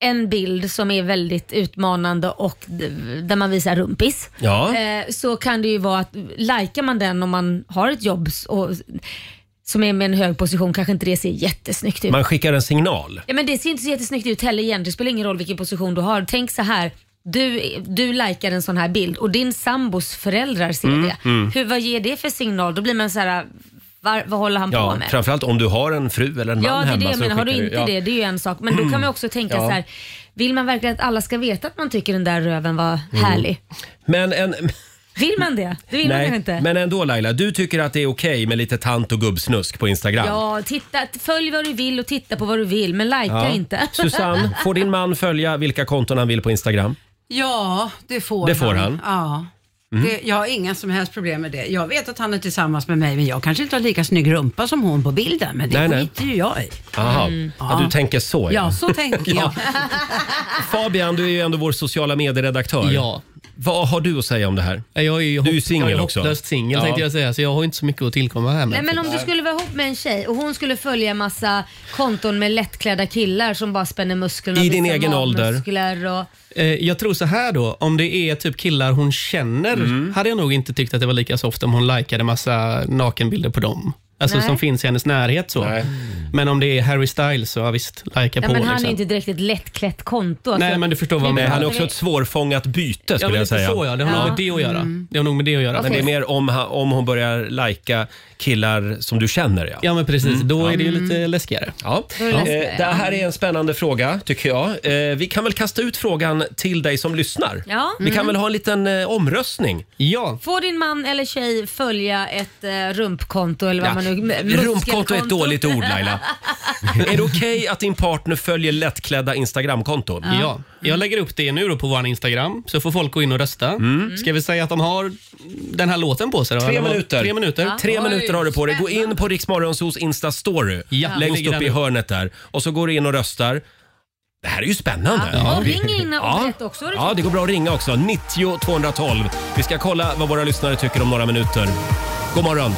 S2: en bild som är väldigt utmanande och d- där man visar rumpis.
S1: Ja.
S2: eh, Så kan det ju vara att likar man den om man har ett jobb s- och, som är med en hög position kanske inte det ser jättesnyggt ut.
S1: Man skickar en signal.
S2: Ja, men det ser inte så jättesnyggt ut heller egentligen. Det spelar ingen roll vilken position du har. Tänk så här. Du, du likar en sån här bild och din sambos föräldrar ser
S1: Mm,
S2: det.
S1: mm.
S2: Hur, vad ger det för signal? Då blir man så här, var, vad håller han på
S1: Ja,
S2: med?
S1: framförallt om du har en fru eller en man
S2: Ja, det är
S1: hemma.
S2: det jag
S1: så
S2: menar. Har du
S1: skickar
S2: inte
S1: ja.
S2: det, det är ju en sak. Men då kan man ju också tänka
S1: Ja.
S2: så här, vill man verkligen att alla ska veta att man tycker den där röven var
S1: Mm.
S2: härlig?
S1: Men, en,
S2: Vill man det? Det vill man
S1: nej,
S2: kanske inte.
S1: men ändå Laila, du tycker att det är okej med lite tant och gubbsnusk på Instagram?
S2: Ja, titta, följ vad du vill och titta på vad du vill, men likea
S1: Ja.
S2: inte.
S1: Susanne, får din man följa vilka konton han vill på Instagram?
S10: Ja, det får
S1: Det får han.
S10: Ja.
S1: Mm.
S10: Det, jag har inga som helst problem med det. Jag vet att han är tillsammans med mig, men jag kanske inte har lika snygg rumpa som hon på bilden. Men det
S1: Nej, nej.
S10: skiter ju jag i.
S1: Jaha,
S2: Mm.
S1: ja, du tänker så
S10: Ja, så tänker jag.
S1: Fabian, du är ju ändå vår sociala medieredaktör.
S11: Ja.
S1: Vad har du att säga om det här?
S11: Jag är ju
S1: du är ju singel också.
S11: hopplöst singel tänkte jag säga, så jag har inte så mycket att tillkomma här med.
S2: Nej, men om du skulle vara ihop med en tjej och hon skulle följa massa konton med lättklädda killar som bara spänner musklerna. och
S11: I din
S2: visar
S11: egen ålder.
S2: magmuskler Och...
S11: Eh, Jag tror så här då, om det är typ killar hon känner,
S1: Mm.
S11: hade jag nog inte tyckt att det var lika soft om hon likade massa nakenbilder på dem. Alltså
S2: Nej.
S11: som finns i hennes närhet så. Men om det är Harry Styles så ja, visst, lika
S2: Ja,
S11: på
S2: men han är
S11: liksom.
S2: ju inte direkt ett lättklätt konto. alltså.
S11: Nej men du förstår vad jag
S2: Nej,
S11: menar.
S2: han är också ett
S1: svårfångat byte
S11: ja,
S1: skulle
S11: men
S1: jag
S11: lite
S1: säga.
S11: Så, ja. Det har nog
S1: Ja.
S11: med det att göra.
S1: Mm.
S11: Det har nog med det att göra.
S1: Men det är
S11: Men-
S1: mer om, han- om hon börjar lajka killar som du känner. Ja, Mm.
S11: Ja men precis, Mm. då är det ju lite läskigare.
S1: Ja.
S11: Då är det
S1: Eh,
S11: läskigare,
S1: Det
S11: ja.
S1: här är en spännande fråga tycker jag. Eh, Vi kan väl kasta ut frågan till dig som lyssnar.
S2: Ja.
S1: Vi kan
S2: Mm.
S1: väl ha en liten eh, omröstning.
S11: Ja.
S2: Får din man eller tjej följa ett eh, rumpkonto eller vad man nu... muskelkonto?
S1: Rumpkonto är ett dåligt ord Laila. är det okej att din partner följer lättklädda Instagramkonton?
S11: Ja. jag lägger upp det nu då på vår Instagram så får folk gå in och rösta. Ska vi säga att de har den här låten på sig? Då?
S1: Mm. Tre
S11: Eller vad-
S1: minuter.
S11: Tre minuter.
S1: Tre minuter har du på dig. Gå in på Riksmorgonsos Insta-story.
S11: Ja, jag
S1: Längst
S11: ligger
S1: upp
S11: där
S1: i
S11: nu.
S1: hörnet där. Och så går du in och röstar. Det här är ju spännande.
S2: Ja, och ring in och berätta också hur det
S1: Ja, det går bra att ringa också. 90 212. Vi ska kolla vad våra lyssnare tycker om några minuter. God morgon.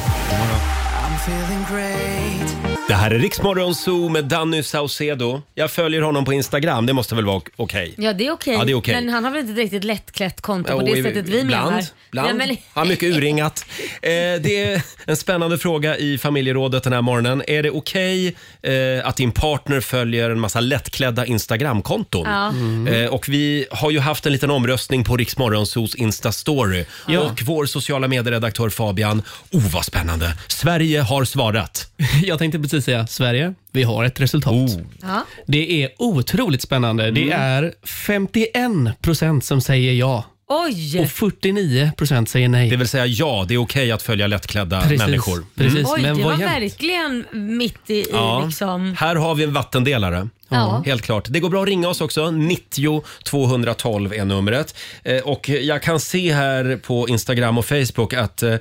S1: Det här är Riksmorgon Zoo med Danny Saucedo. Jag följer honom på Instagram. Det måste väl vara okej?
S2: Ja det är okej.
S1: Ja, det är okej.
S2: Men han har väl inte direkt ett lättklätt konto på
S1: Ja,
S2: det
S1: och i-
S2: sättet vi
S1: ibland,
S2: menar.
S1: Ibland.
S2: Nej, men,
S1: Har mycket urringat. Eh, det är en spännande fråga i familjerådet den här morgonen. Är det okej eh, att din partner följer en massa lättklädda Instagramkonton?
S2: Ja. Mm.
S1: Eh, och vi har ju haft en liten omröstning på Riksmorgonsos Insta-story. Och vår sociala medieredaktör Fabian, oh vad spännande. Sverige har svarat. Oh.
S11: Jag tänkte precis säga Sverige, vi har ett resultat.
S2: ja.
S11: Det är otroligt spännande.
S1: Mm.
S11: Det är 51 procent som säger ja.
S2: Oj!
S11: Och 49 procent säger nej.
S1: Det vill säga ja, det är okej att följa lättklädda
S11: Precis,
S1: människor. Mm.
S11: precis.
S2: Oj,
S11: Men
S2: det
S11: vad
S2: var
S11: jämnt.
S2: verkligen mitt i, i
S1: Ja.
S2: liksom...
S1: Här har vi en vattendelare.
S2: Ja.
S1: Helt klart. Det går bra att ringa oss också. 90 212 är numret. Eh, Och jag kan se här på Instagram och Facebook att eh,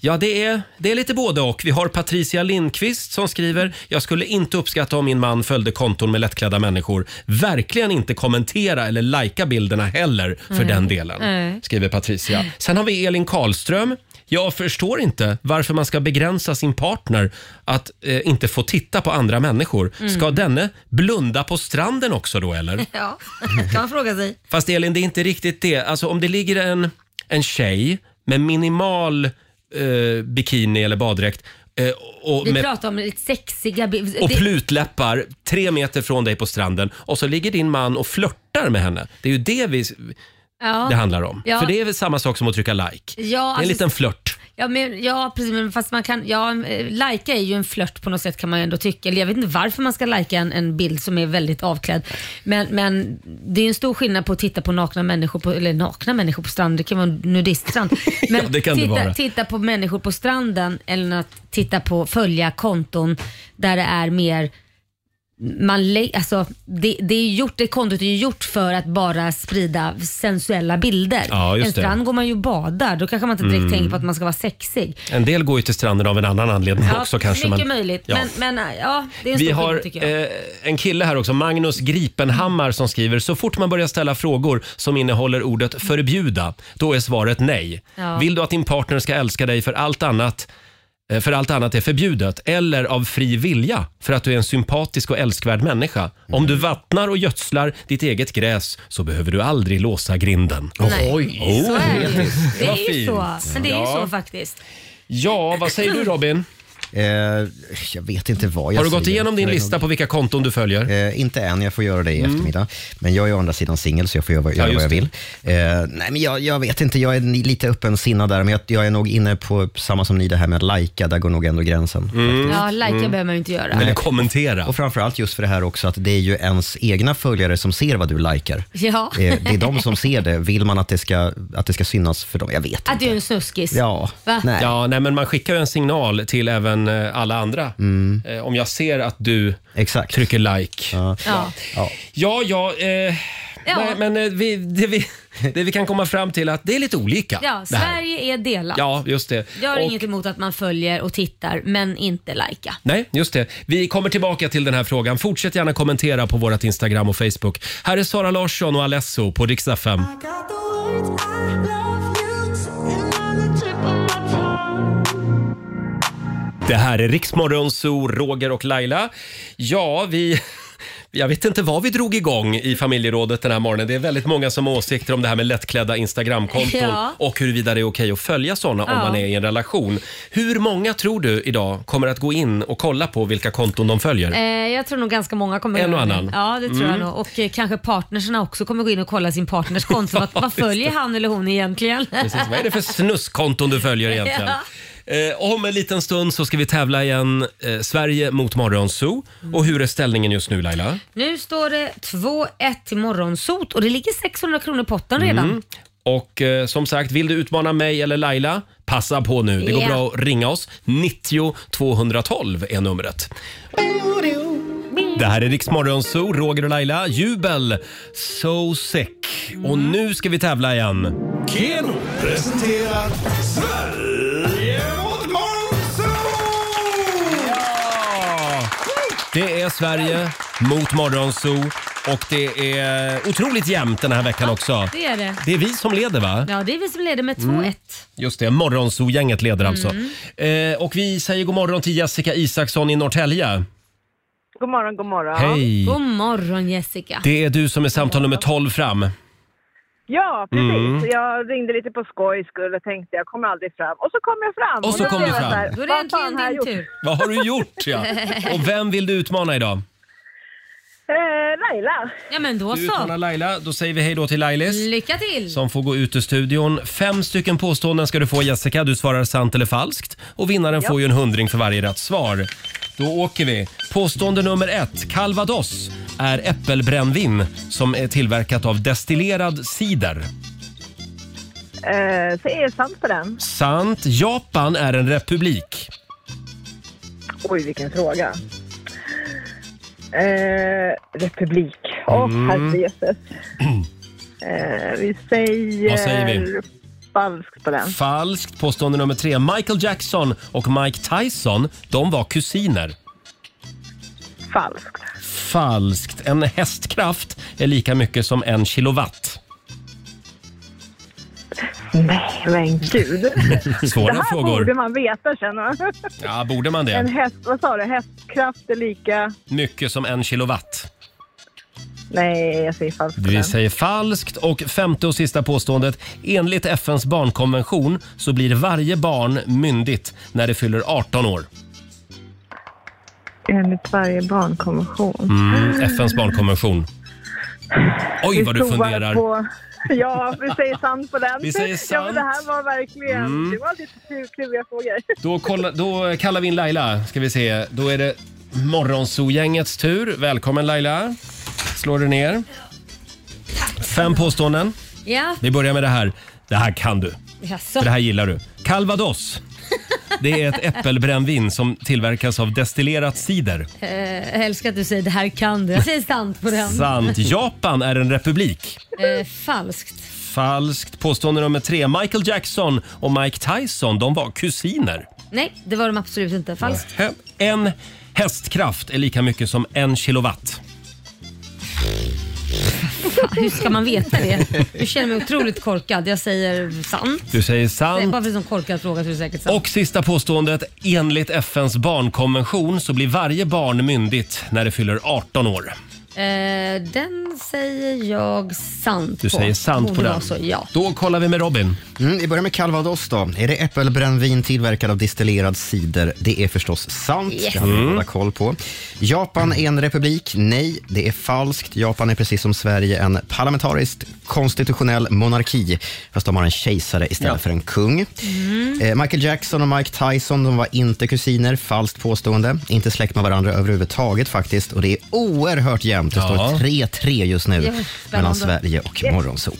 S1: Ja, det är, det är lite både och. Vi har Patricia Lindqvist som skriver “Jag skulle inte uppskatta om min man följde konton med lättklädda människor. Verkligen inte kommentera eller lajka bilderna heller för
S2: Nej.
S1: den delen”
S2: Nej.
S1: skriver Patricia. Sen har vi Elin Karlström. Jag förstår inte varför man ska begränsa sin partner att eh, inte få titta på andra människor.
S2: Mm.
S1: Ska denne blunda på stranden också då eller?
S2: Ja, kan man fråga sig.
S1: Fast Elin, det är inte riktigt det. Alltså om det ligger en, en tjej med minimal eh, bikini eller baddräkt eh, och,
S2: Vi
S1: med,
S2: pratar om lite sexiga bilder.
S1: och
S2: Det-
S1: plutläppar tre meter från dig på stranden och så ligger din man och flörtar med henne. Det är ju det vi,
S2: ja.
S1: det handlar om.
S2: Ja.
S1: För det är väl samma sak som att trycka like.
S2: Ja,
S1: det är en
S2: alltså-
S1: liten flört.
S2: Ja, men, ja precis, men fast man kan, ja, eh, lajka är ju en flört på något sätt kan man ju ändå tycka. Eller jag vet inte varför man ska lajka en, en bild som är väldigt avklädd. Men, men det är en stor skillnad på att titta på nakna människor på, eller nakna människor på stranden, det kan vara en nudiststrand. Men
S1: Ja, det kan det
S2: titta,
S1: vara.
S2: titta på människor på stranden eller att titta på, följa konton där det är mer man lä- alltså, det, det är gjort, det kontot är ju gjort för att bara sprida sensuella bilder.
S1: Ja, just
S2: en
S1: det.
S2: strand går man ju och badar, då kanske man inte direkt
S1: Mm.
S2: tänker på att man ska vara sexig.
S1: En del går ju till stranden av en annan anledning
S2: Ja,
S1: också kanske.
S2: mycket
S1: men-
S2: möjligt,
S1: Ja.
S2: men, men ja, det är en
S1: Vi
S2: stor
S1: har
S2: skillnad, tycker jag.
S1: eh, en kille här också, Magnus Gripenhammar, som skriver så fort man börjar ställa frågor som innehåller ordet förbjuda, då är svaret nej.
S12: Ja.
S1: Vill du att din partner ska älska dig för allt annat eh, för allt annat är förbjudet eller av fri vilja för att du är en sympatisk och älskvärd människa. Om du vattnar och gödslar ditt eget gräs så behöver du aldrig låsa grinden.
S2: Nej.
S1: Oh,
S2: så är det.
S1: poetiskt.
S2: Det
S1: Vad
S2: är ju
S1: fint.
S2: så. Men det är ju
S1: Ja.
S2: så faktiskt.
S1: Ja, vad säger du Robin?
S6: Eh, jag vet inte vad jag
S1: Har du gått
S6: säger.
S1: igenom din
S6: Nej,
S1: lista på vilka konton du följer?
S6: Eh, inte än, jag får göra det i
S2: Mm.
S6: eftermiddag. Men jag är å andra sidan singel så jag får göra, vad-
S1: Ja,
S6: göra vad jag
S1: just
S6: vill. Eh, nej, men jag, jag vet inte, jag är ni- lite öppensinnad där, men jag, jag är nog inne på samma som ni, det här med att lajka, där går nog ändå gränsen.
S1: Mm.
S2: Ja, lajka behöver man ju inte göra.
S1: Eller kommentera.
S6: Och framförallt just för det här också att det är ju ens egna följare som ser vad du likar.
S2: Ja.
S6: Eh, Det är de som ser det. Vill man att det ska, att det ska synas för dem? Jag vet.
S2: Att du är en snuskis. Va?
S1: Nej. ja nej, men man skickar ju en signal till även eh, alla andra. Eh, Om jag ser att du trycker like. Ja,
S2: Ja.
S6: ja.
S1: ja, eh, Nej, men eh, vi, det, vi, det vi kan komma fram till är att det är lite olika.
S2: Ja,
S1: det här.
S2: Sverige är delat.
S1: Ja, just det.
S2: Jag har
S1: Och-
S2: inget emot att man följer och tittar, men inte lajka.
S1: Nej, just det. Vi kommer tillbaka till den här frågan. Fortsätt gärna kommentera på vårt Instagram och Facebook. Här är Sara Larsson och Alesso på riksdag 5. Det här är Riksmorgon Zoo, Roger och Laila. Ja, vi... Jag vet inte vad vi drog igång i familjerådet den här morgonen. Det är väldigt många som har åsikter om det här med lättklädda Instagramkonton
S12: Ja.
S1: och huruvida det är okej att följa sådana om
S12: Ja.
S1: man är i en relation. Hur många tror du idag kommer att gå in och kolla på vilka konton de följer?
S2: Eh, jag tror nog ganska många kommer
S1: En och
S2: göra det.
S1: annan.
S2: Ja, det tror
S1: Mm.
S2: jag nog. Och eh, kanske partnerserna också kommer gå in och kolla sin partners konto. Vad- Vad följer han eller hon egentligen?
S1: Precis. Vad är det för snuskkonton du följer egentligen? Eh, om en liten stund så ska vi tävla igen. Eh, Sverige mot Morgonzoo. Och hur är ställningen just nu Laila?
S2: Nu står det 2-1 till Morgonsot och det ligger 600 kronor i potten redan.
S1: Mm. Och eh, som sagt, vill du utmana mig eller Laila, passa på nu. Det går
S2: Ja.
S1: bra att ringa oss. 90 212 är numret. Det här är Riksmorgon Zoo, Roger och Laila. Jubel! So sick. Och nu ska vi tävla igen.
S3: Keno presenterar Sverige mot
S1: Ja! Det är Sverige mot Morgonzoo och det är otroligt jämnt den här veckan också.
S2: Det är det.
S1: Det är vi som leder va?
S2: Ja, det är vi som leder med 2-1.
S1: Mm. Just det, Morgonzoo-gänget leder alltså.
S2: Mm.
S1: Eh, och vi säger god morgon till Jessica Isaksson i Norrtälje.
S2: God morgon, god morgon.
S1: Hej.
S2: God morgon Jessica.
S1: Det är du som är samtal nummer 12 fram.
S13: Ja, precis.
S1: Mm.
S13: Jag ringde lite på skojs skull och tänkte jag kommer aldrig fram. Och så kom jag fram.
S1: Och så
S13: då
S1: kom
S13: blev
S1: du
S13: jag
S1: fram.
S13: så här,
S2: Då är det
S13: "Vad
S2: äntligen
S13: fan har jag
S2: din
S13: gjort?"
S2: tur.
S1: Vad har du gjort ja? Och vem vill du utmana idag?
S13: Eh, Laila.
S2: Ja, men då
S1: Du utmanar
S2: så.
S1: Laila. Då säger vi hej då till Lailis.
S2: Lycka till.
S1: som får gå ut ur studion. Fem stycken påståenden ska du få Jessica. Du svarar sant eller falskt. Och vinnaren
S12: Ja.
S1: får ju en hundring för varje rätt svar. Då åker vi. Påstående nummer ett. Calvados är äppelbrännvin som är tillverkat av destillerad cider.
S13: Eh, så är det sant på den.
S1: Sant. Japan är en republik.
S13: Oj, vilken fråga. Eh, republik. Åh,
S1: Mm.
S13: herrejösses. Eh, vi säger...
S1: Vad säger vi?
S13: Falskt på den.
S1: Falskt. Påstående nummer tre. Michael Jackson och Mike Tyson, de var kusiner.
S13: Falskt.
S1: Falskt. En hästkraft är lika mycket som en kilowatt.
S13: Nej, men gud.
S1: Svåra
S13: det här
S1: frågor.
S13: borde man veta, känner jag.
S1: Ja, borde man
S13: En
S1: det?
S13: häst... Vad sa du? Hästkraft är lika...
S1: Mycket som en kilowatt.
S13: Nej, jag säger falskt. på
S1: Vi
S13: den.
S1: säger falskt. Och femte och sista påståendet. Enligt FNs barnkonvention så blir varje barn myndigt när det fyller 18 år.
S13: Enligt varje barnkonvention.
S1: Mm, FNs Mm, barnkonvention. Oj,
S13: Vi
S1: vad du
S13: provar
S1: funderar.
S13: På, Ja, vi säger sant på den.
S1: Vi säger
S13: Ja, men det här
S1: sant.
S13: var verkligen...
S1: Mm.
S13: Det var lite kluriga frågor.
S1: Då, kolla, då kallar vi in Laila, ska vi se. Då är det Morgonzoo-gängets tur. Välkommen Laila. Slår du ner. Fem påståenden.
S2: Ja,
S1: Vi börjar med det här. Det här kan du.
S2: jaså.
S1: För det här gillar du. Calvados. Det är ett äppelbrännvin som tillverkas av destillerat cider.
S2: Eh, jag älskar att du säger det här kan du. Jag säger sant på den.
S1: Sant. Japan är en republik.
S2: Eh, falskt.
S1: Falskt. Påstående nummer tre. Michael Jackson och Mike Tyson, de var kusiner.
S2: Nej, det var de absolut inte. Falskt.
S1: Hä- En hästkraft är lika mycket som en kilowatt.
S2: Fan, hur ska man veta det? Du känner mig otroligt korkad. Jag säger sant.
S1: Du säger
S2: Nej,
S1: sant.
S2: bara för en sån korkad fråga så är det säkert sant.
S1: Och sista påståendet. Enligt FNs barnkonvention så blir varje barn myndigt när det fyller 18 år.
S2: Eh, den säger jag sant
S1: Du
S2: på.
S1: säger sant
S2: Borde
S1: på den.
S2: vara Så, ja.
S1: Då kollar vi med Robin.
S6: Mm, vi börjar med calvados då. Är det äppelbrännvin tillverkad av destillerad cider? Det är förstås sant.
S2: Yes.
S6: Det hade vi
S2: Mm.
S6: alla koll på. Japan är en republik? Nej, det är falskt. Japan är precis som Sverige en parlamentariskt konstitutionell monarki, fast de har en kejsare istället för en kung.
S2: Mm.
S6: Eh, Michael Jackson och Mike Tyson de var inte kusiner, falskt påstående. Inte släkt med varandra överhuvudtaget faktiskt. Och det är oerhört jämnt. Det står
S1: Ja.
S6: 3-3 just nu
S2: Ja,
S6: mellan
S2: spännande.
S6: Sverige och
S2: Yes.
S6: Morgonzoo.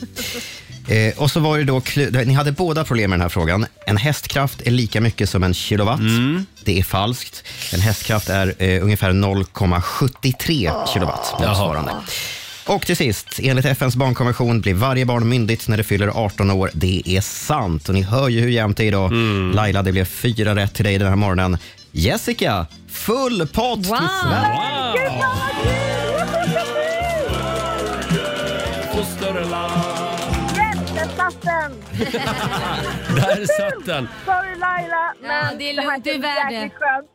S6: Eh, och så var det då, klu- ni hade båda problem med den här frågan. En hästkraft är lika mycket som en kilowatt.
S1: Mm.
S6: Det är falskt. En hästkraft är eh, ungefär 0,73 kilowatt motsvarande. Och till sist, enligt FNs barnkonvention blir varje barn myndigt när det fyller 18 år. Det är sant. Och ni hör ju hur jämnt det är idag.
S1: Mm.
S6: Laila, det blev fyra rätt till dig den här morgonen. Jessica, full pott till Sverige.
S13: Jätteklassen!
S1: Där satt den!
S13: Sorry Laila,
S2: Ja,
S13: men
S2: det är
S13: här
S2: lugnt. Du är
S13: känns
S2: värd det.
S13: jäkligt skönt.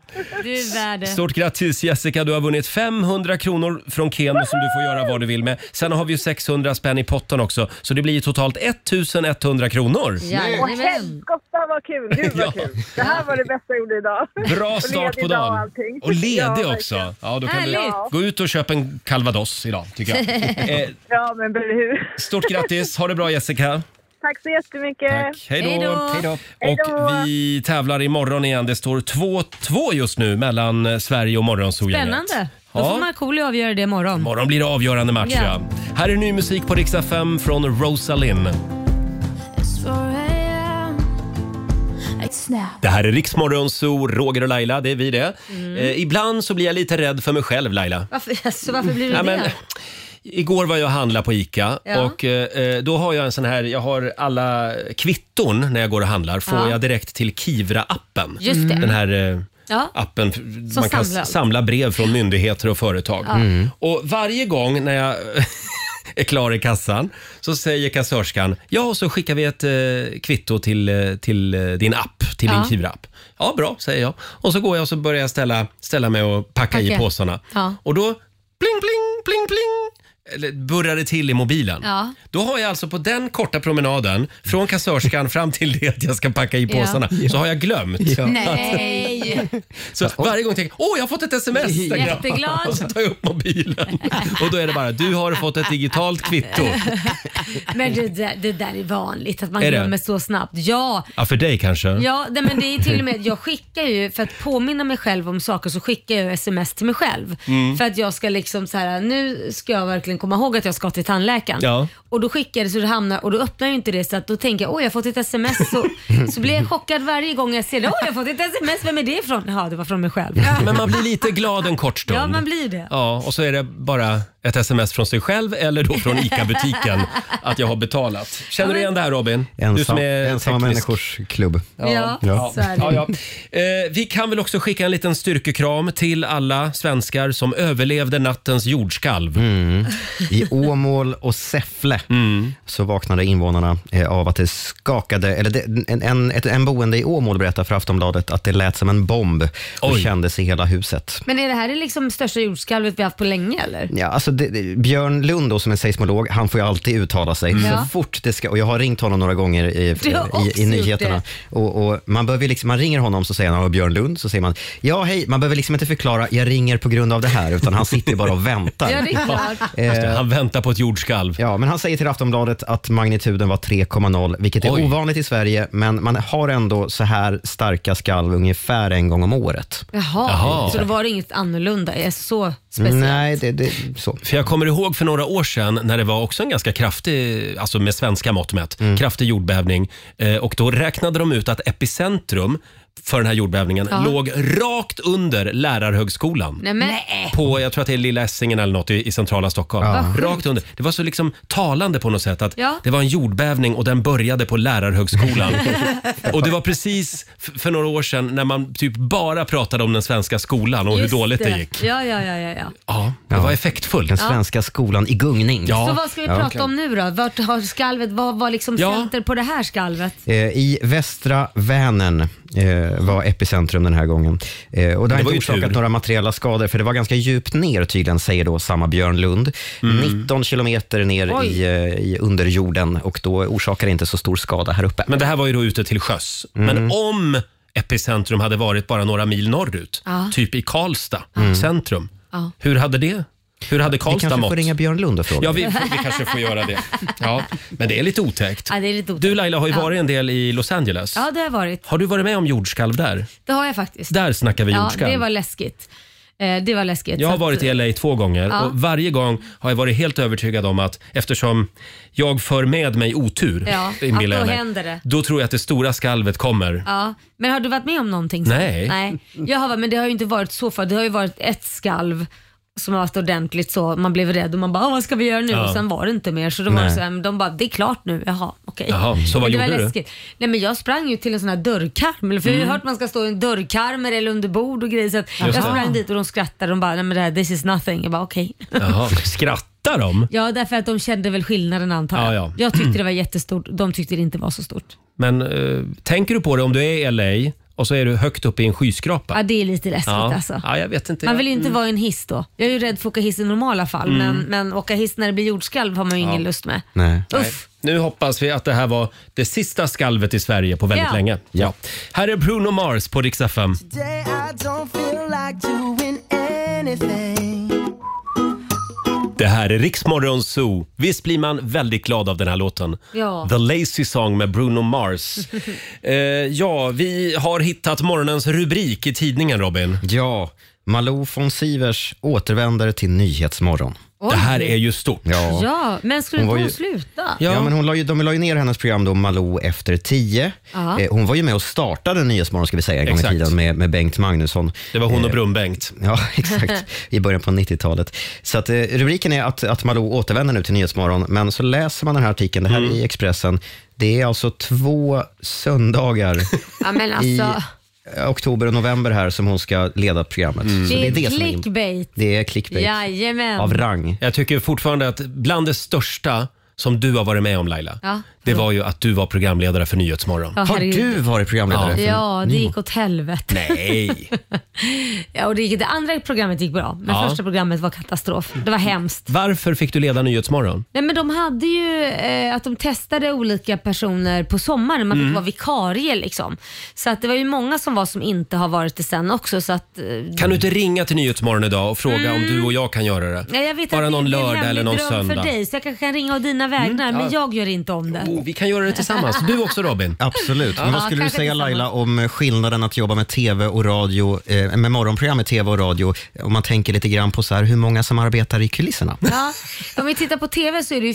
S2: Du är värd det.
S1: Stort grattis Jessica, du har vunnit 500 kronor från Keno som du får göra vad du vill med. Sen har vi ju 600 spänn i potten också, så det blir ju totalt 1100 kronor.
S13: Åh helskotta vad kul! Gud vad kul! Det här var det bästa jag gjorde idag.
S1: Bra
S13: Och
S1: start
S13: ledig
S1: på
S13: dag och
S1: dagen.
S13: allting.
S1: Och ledig
S13: Ja,
S1: också. Ja, då kan du
S13: Härligt.
S1: gå ut och köpa en calvados idag, tycker jag. Eh,
S13: Ja men eller hur.
S1: Stort grattis, ha det bra Jessica.
S13: Tack så jättemycket.
S1: Hej då!
S13: Hej då.
S1: Och vi tävlar imorgon igen. Det står 2-2 just nu mellan eh, Sverige och Morgonzoo-gänget.
S2: Spännande. Då
S1: Ja.
S2: får Markoolio avgöra det imorgon.
S1: Imorgon blir det avgörande match.
S2: Ja.
S1: Ja. Här är ny musik på Rix FM från Rosalind. Det här är Riksmorgon Zoo, Roger och Laila, det är vi det.
S2: Mm.
S1: Eh, ibland så blir jag lite rädd för mig själv Laila.
S2: Varför, alltså, varför blir du
S1: Ja,
S2: det?
S1: men, igår var jag och handlade på ICA
S2: Ja.
S1: och eh, då har jag en sån här, jag har alla kvitton när jag går och handlar får
S2: Ja.
S1: jag direkt till Kivra-appen.
S2: Just det.
S1: Den här eh,
S2: Ja.
S1: appen, man kan
S2: samlar allt.
S1: samla brev från myndigheter och företag.
S2: Ja. Mm.
S1: Och varje gång när jag är klar i kassan så säger kassörskan, ja och så skickar vi ett eh, kvitto till, eh, till eh, din app, till
S3: Ja.
S1: din Kivra-app. Ja, bra, säger jag. Och så går jag och så börjar jag ställa, ställa mig och packa i
S3: Packa.
S1: påsarna.
S3: Ja.
S1: Och då pling, pling, pling, pling. Eller burrar det till i mobilen.
S3: Ja.
S1: Då har jag alltså på den korta promenaden från kassörskan fram till det att jag ska packa i
S3: Ja.
S1: påsarna så har jag glömt.
S3: Nej!
S1: Så varje gång tänker jag, åh jag har fått ett sms! tänker jag.
S3: Jätteglad.
S1: Och så tar jag upp mobilen och då är det bara, du har fått ett digitalt kvitto.
S2: Men det där, det där är vanligt, att man
S1: Är det?
S2: glömmer så snabbt. Ja,
S1: Ja, för dig kanske?
S2: Ja, nej, men det är till och med, jag skickar ju, för att påminna mig själv om saker så skickar jag sms till mig själv.
S1: Mm.
S2: För att jag ska liksom så här, nu ska jag verkligen komma ihåg att jag ska till tandläkaren.
S1: Ja.
S2: Och då skickar jag det så det hamnar, och då öppnar jag ju inte det så att då tänker jag, åh jag har fått ett sms. Så, så blir jag chockad varje gång jag ser det, åh jag har fått ett sms, vem är det ifrån? Ja, det var från mig själv.
S1: Men man blir lite glad en kort stund.
S2: Ja, man blir det.
S1: Ja, och så är det bara ett sms från sig själv eller då från ICA-butiken att jag har betalat. Känner du igen det här Robin? du
S6: Ensam,
S1: som är
S6: ensamma
S1: teknisk.
S6: människors klubb.
S1: Ja, ja.
S6: så är det.
S1: Ja, ja. Eh, vi kan väl också skicka en liten styrkekram till alla svenskar som överlevde nattens jordskalv.
S6: I Åmål och Säffle
S12: Mm.
S6: så vaknade invånarna eh, av att det skakade, eller det, en, en, ett, en boende i Åmål berättar för Aftonbladet att det lät som en bomb och kändes i hela huset.
S2: Men är det här det liksom största jordskalvet vi haft på länge eller?
S6: Ja, alltså så det, det- Björn Lund då, som är seismolog, han får ju alltid uttala sig
S12: Mm. Ja.
S6: så fort det ska. Och jag har ringt honom några gånger i,
S12: Du har också
S6: i, i
S12: gjort
S6: nyheterna. Och, och man, behöver ju liksom, man ringer honom så säger han "Ja, Björn Lund, så säger man ja hej, man behöver liksom inte förklara jag ringer på grund av det här, utan han sitter ju bara och väntar.
S12: Ja, det är klart.
S1: Just det, Eh, han väntar på ett jordskalv.
S6: Ja, men han säger till Aftonbladet att magnituden var 3,0, vilket är
S1: Oj.
S6: ovanligt i Sverige, men man har ändå så här starka skalv ungefär en gång om året.
S2: Jaha,
S6: Jaha.
S2: så då var det inget annorlunda. Är så speciellt.
S6: Nej, det, det, så.
S1: För jag kommer ihåg för några år sedan när det var också en ganska kraftig, alltså med svenska mått mätt,
S2: Mm.
S1: kraftig jordbävning. Eh, och då räknade de ut att epicentrum för den här jordbävningen
S2: Ja.
S1: låg rakt under lärarhögskolan.
S2: Nej, men, Nej.
S1: På, jag tror att det är Lilla Essingen eller något i, i centrala Stockholm.
S2: Ja. Vad sjukt.
S1: Rakt under. Det var så liksom talande på något sätt att
S2: Ja.
S1: det var en jordbävning och den började på lärarhögskolan. och det var precis f- för några år sedan när man typ bara pratade om den svenska skolan och
S2: Just
S1: hur dåligt det, gick.
S2: Ja, ja, ja, ja, ja.
S1: Ja, det var effektfullt.
S6: Den
S2: Ja.
S6: svenska skolan i gungning.
S2: så vad ska vi prata om nu då? Vart har skalvet, vad var liksom
S6: Ja.
S2: center på det här skalvet?
S6: Eh, I västra Vänern eh, var epicentrum den här gången. Eh, och det
S12: Det
S6: har
S12: var ju
S6: inte orsakat
S12: tur.
S6: några materiella skador, för det var ganska djupt ner tydligen, säger då samma Björn Lund.
S1: Mm.
S6: 19 kilometer ner
S1: Oj.
S6: i, eh, i underjorden och då orsakar det inte så stor skada här uppe.
S1: Men det här var ju då ute till sjöss.
S6: Mm.
S1: Men om epicentrum hade varit bara några mil norrut,
S2: Ja.
S1: typ i Karlstad
S2: Mm.
S1: centrum,
S2: Ja.
S1: hur hade det hur hade
S6: vi
S1: Karlstad
S6: kanske
S1: mått?
S6: får ringa Björn Lund och fråga.
S1: Ja, vi, vi kanske får göra det. Ja, men det är lite otäckt.
S2: Ja, det är lite otäckt.
S1: Du Laila har ju
S2: Ja.
S1: varit en del i Los Angeles.
S2: Ja, det har jag varit.
S1: Har du varit med om jordskalv där?
S2: Det har jag faktiskt.
S1: Där snackar vi
S2: ja,
S1: jordskalv.
S2: det var läskigt. Eh, det var läskigt.
S1: Jag
S2: Så
S1: har
S2: att-
S1: varit i LA två gånger
S2: Ja.
S1: och varje gång har jag varit helt övertygad om att eftersom jag för med mig otur,
S2: Ja,
S1: inbillar jag
S2: att då
S1: mig,
S2: händer det.
S1: då tror jag att det stora skalvet kommer.
S2: Ja. Men har du varit med om någonting? sånt?
S1: Nej.
S2: Nej. Jag har, varit- men det har ju inte varit så för Det har ju varit ett skalv som har varit ordentligt så. Man blev rädd och man bara, "Åh, vad ska vi göra nu?
S1: Ja.
S2: Och sen var det inte mer. Så då var
S1: Nej.
S2: det så här, men de bara, det är klart nu. Jaha, okej.
S1: Jaha, så vad
S2: Men det
S1: gjorde
S2: var
S1: du?
S2: läskigt. Nej, men jag sprang ju till en sån här dörrkarm. För jag har ju
S1: Mm.
S2: hört att man ska stå i en dörrkarm eller under bord och grejer. Så att jag
S1: Just det.
S2: sprang dit och de skrattade. De bara, nej men det här, this is nothing. Jag bara, okej.
S1: Jaha, skrattar de?
S2: Ja, därför att de kände väl skillnaden antar jag.
S1: Ja, ja.
S2: Jag tyckte det var jättestort, de tyckte det inte var så stort.
S1: Men eh, tänker du på det om du är i LA och så är du högt uppe i en skyskrapa?
S2: Ja, det är lite läskigt
S1: Ja.
S2: alltså.
S1: Ja, jag vet inte.
S2: Man vill ju inte
S1: Mm.
S2: vara i en hiss då. Jag är ju rädd för att åka hiss i normala fall,
S1: Mm.
S2: men, men åka hiss när det blir jordskalv har man ju ingen
S1: Ja.
S2: lust med.
S6: Nej.
S2: Uff.
S1: Nu hoppas vi att det här var det sista skalvet i Sverige på väldigt
S2: Ja.
S1: länge. Ja. Här är Bruno Mars på Rix FM.
S12: Today I don't feel like doing anything.
S1: Det här är Riksmorgon Zoo. Visst blir man väldigt glad av den här låten?
S12: Ja.
S1: The Lazy Song med Bruno Mars. eh, ja, vi har hittat morgonens rubrik i tidningen, Robin.
S6: Ja, Malou von Sivers återvänder till Nyhetsmorgon.
S2: Oj. Det här är
S1: ju stort.
S6: Ja.
S2: Ja, men skulle
S6: Hon
S2: inte
S6: var
S2: hon
S6: ju-
S2: sluta?
S6: Ja. men hon la ju, de la ju ner hennes program då, Malou efter tio.
S2: Ja.
S6: Eh, hon var ju med och startade Nyhetsmorgon ska vi säga, en gång i
S1: Exakt.
S6: tiden med, med Bengt Magnusson.
S1: Det var
S6: Eh.
S1: hon och Brunn-Bengt.
S6: Ja, exakt. I början på 90-talet. Så att, eh, rubriken är att, att Malou återvänder nu till Nyhetsmorgon, men så läser man den här artikeln, det här är i Expressen. Det är alltså två söndagar
S2: Ja, men alltså.
S6: i oktober och november här som hon ska leda programmet. Så
S2: Det är
S6: som
S2: clickbait.
S6: Det är clickbait.
S2: Jajamän.
S6: Av rang.
S1: Jag tycker fortfarande att bland det största som du har varit med om Laila,
S2: Ja.
S1: det var ju att du var programledare för Nyhetsmorgon.
S2: Ja, Har herregud. du
S1: varit
S2: Ja, det gick åt helvete.
S1: Nej.
S2: ja, och det, gick, det andra programmet gick bra, men
S1: Ja.
S2: första programmet var katastrof. Det var hemskt.
S1: Varför fick du leda Nyhetsmorgon?
S2: Nej, men de hade ju eh, att de testade olika personer på sommaren. Man fick
S1: Mm.
S2: vara vikarie liksom. Så att det var ju många som var som inte har varit det sen också. Så att, eh,
S1: Kan du inte ringa till Nyhetsmorgon idag och fråga om du och jag kan göra det?
S2: Mm. Nej, jag vet
S1: Bara
S2: att det är
S1: någon
S2: en
S1: lördag
S2: hemlig
S1: eller någon
S2: dröm
S1: söndag.
S2: för dig så jag kanske kan ringa och dina vägnar
S1: Mm, ja.
S2: men jag gör inte om det.
S1: Oh, vi kan göra det tillsammans. Du också Robin?
S6: Absolut.
S2: Ja,
S6: Men vad skulle du
S2: kanske
S6: säga
S2: tillsammans.
S6: Laila om skillnaden att jobba med TV och radio, eh, med morgonprogram i TV och radio, om man tänker lite grann på så här, hur många som arbetar i kulisserna?
S2: Ja. Om vi tittar på TV så är det ju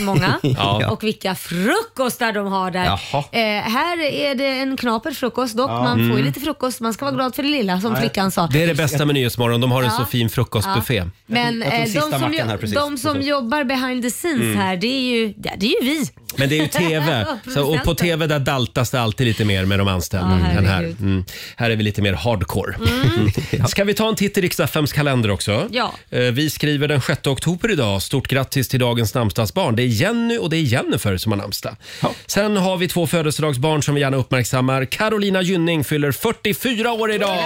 S2: många
S6: Ja.
S2: och vilka frukostar de har där.
S6: Jaha.
S2: Eh, här är det en knaper frukost dock.
S1: Ja.
S2: Man får ju
S1: Mm.
S2: lite frukost. Man ska vara glad för det lilla som flickan sa.
S1: Det är det bästa med Nyhetsmorgon. De har en
S2: Ja.
S1: så fin frukostbuffé.
S2: Ja. Men eh, de, som, ju, de som jobbar behind the scenes
S1: Mm.
S2: här, det är ju, ja, det är ju vi.
S1: Men det är ju TV. så, och på
S2: Producenter.
S1: TV där daltas det alltid lite mer med de anställda
S2: Ja,
S1: än här.
S2: herregud.
S1: Mm. Här är vi lite mer hardcore. Mm. Ska vi ta en titt i riksdagsfems kalender också?
S2: Ja.
S1: Eh, Vi skriver den 6 oktober idag. Stort grattis till dagens namnsdagsbarn. Det är Jenny och det är Jennifer som har namnsdag. Sen har vi två födelsedagsbarn som vi gärna uppmärksammar. Carolina Gynning fyller 44 år idag.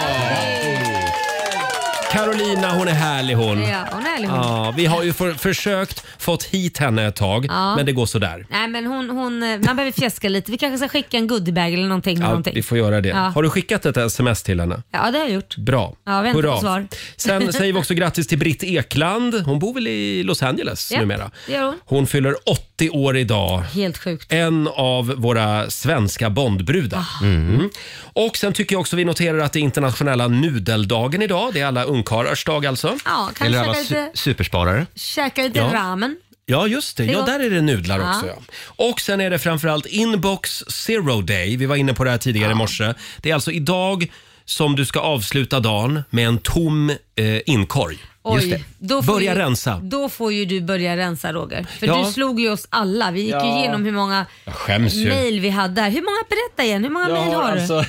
S1: Carolina, hon är härlig hon.
S2: Ja, hon är härlig, hon.
S1: Ja, vi har ju för, försökt fått hit henne ett tag,
S2: Ja.
S1: men det går sådär.
S2: Nej men hon, hon, eh, man behöver fjäska lite. Vi kanske ska skicka en goodiebag eller någonting. med
S1: Ja,
S2: någonting.
S1: vi får göra det.
S2: Ja.
S1: Har du skickat ett sms till henne?
S2: Ja det har jag gjort.
S1: Bra.
S2: Ja, väntar på svar.
S1: Sen säger vi också grattis till Britt Ekland. Hon bor väl i Los Angeles
S2: Ja,
S1: numera?
S2: det gör hon.
S1: Hon fyller 80 år idag.
S2: Helt sjukt.
S1: En av våra svenska Bondbrudar.
S2: Ah.
S1: Mm. Och sen tycker jag också vi noterar att det är internationella nudeldagen idag. Det är alla ungkarlars dag alltså.
S2: Ja, kanske Eller alla su- lite-
S1: supersparare.
S2: Käka lite
S1: Ja.
S2: ramen.
S1: Ja, just det.
S2: Det
S1: Ja,
S2: var-
S1: där är det nudlar
S2: Ja.
S1: också. Ja. Och sen är det framförallt Inbox Zero Day. Vi var inne på det här tidigare i morse. Det är alltså idag som du ska avsluta dagen med en tom eh, inkorg.
S2: Oj, då får
S1: Börja
S2: ju,
S1: rensa.
S2: Då får ju du börja rensa Roger. För
S1: Ja.
S2: du slog ju oss alla. Vi gick
S1: Ja.
S2: ju igenom hur många
S1: Jag skäms ju.
S2: mejl vi hade här. Hur många, berätta igen, hur många
S1: Jag
S2: mejl
S1: har
S2: har du?
S1: alltså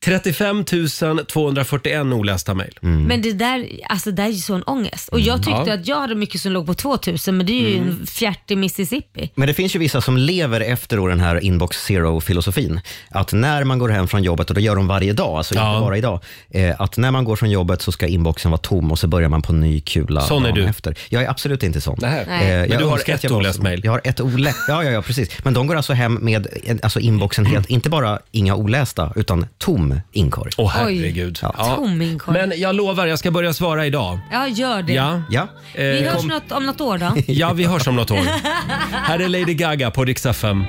S1: 35 241 olästa mejl.
S2: Men det där, alltså det där är ju sån ångest. Och jag
S6: Mm.
S2: tyckte
S6: Ja.
S2: att jag hade mycket som låg på 2000 men det är ju
S1: Mm.
S2: en fjärt i Mississippi.
S6: Men det finns ju vissa som lever efter då den här inbox zero-filosofin. Att när man går hem från jobbet, och det gör de varje dag, alltså inte bara idag, eh, att när man går från jobbet så ska inboxen vara tom och så börjar man på ny kula
S1: Sån är
S6: dagen
S1: du.
S6: efter. Jag är absolut inte sån. Eh,
S1: Nej. Nej. Men
S6: jag
S1: du har
S6: önskar att
S1: ett
S6: jag var
S1: oläst
S6: sån. Jag har ett oläst, ja, ja, ja precis. Men de går alltså hem med eh, alltså inboxen helt, inte bara inga olästa, utan tom inkorg.
S1: Åh herregud. Ja.
S2: Tom inkorg.
S1: Men jag lovar, jag ska börja svara idag.
S2: Ja, gör det.
S1: Ja.
S6: ja.
S2: Vi
S1: Eh,
S2: hörs
S1: kom-
S2: något, om något år då.
S1: Ja, vi hörs om något år. Här är Lady Gaga på Rix FM.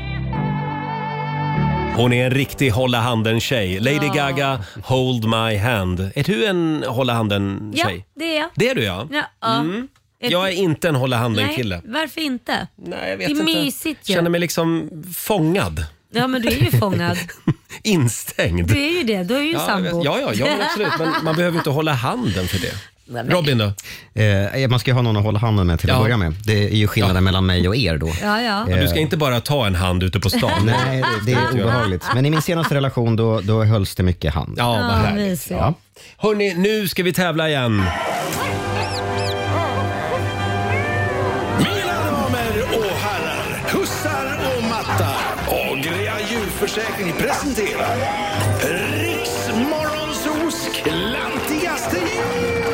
S1: Hon är en riktig hålla handen-tjej. Lady
S2: Ja.
S1: Gaga, hold my hand. Är du en hålla
S2: ja,
S1: handen-tjej?
S2: det är jag.
S1: Det är du ja.
S2: Ja, ja.
S1: Mm.
S2: Ett-
S1: Jag är inte en hålla
S2: Nej,
S1: handen-kille.
S2: Varför inte?
S1: Nej, jag
S2: det är
S1: inte.
S2: mysigt ju.
S1: Känner mig liksom fångad.
S2: Ja men du är ju fångad.
S1: Instängd.
S2: Du är ju det, du är ju
S1: ja,
S2: sambo.
S1: Ja, ja, ja, men absolut. Men man behöver inte hålla handen för det. Robin då?
S6: Eh, man ska ju ha någon att hålla handen med till att
S1: Ja.
S6: börja med. Det är ju skillnaden mellan mig och er då.
S2: Ja, ja.
S1: Ja, du ska inte bara ta en hand ute på stan.
S6: Nej, det är obehagligt. Men i min senaste relation då, då hölls det mycket hand.
S1: Ja, vad härligt.
S2: mysigt.
S1: Ja. Hörni, nu ska vi tävla igen.
S3: Mina damer och herrar, hussar och matta. Agria djurförsäkring presenterar Riksmorgonsos klantigaste djur.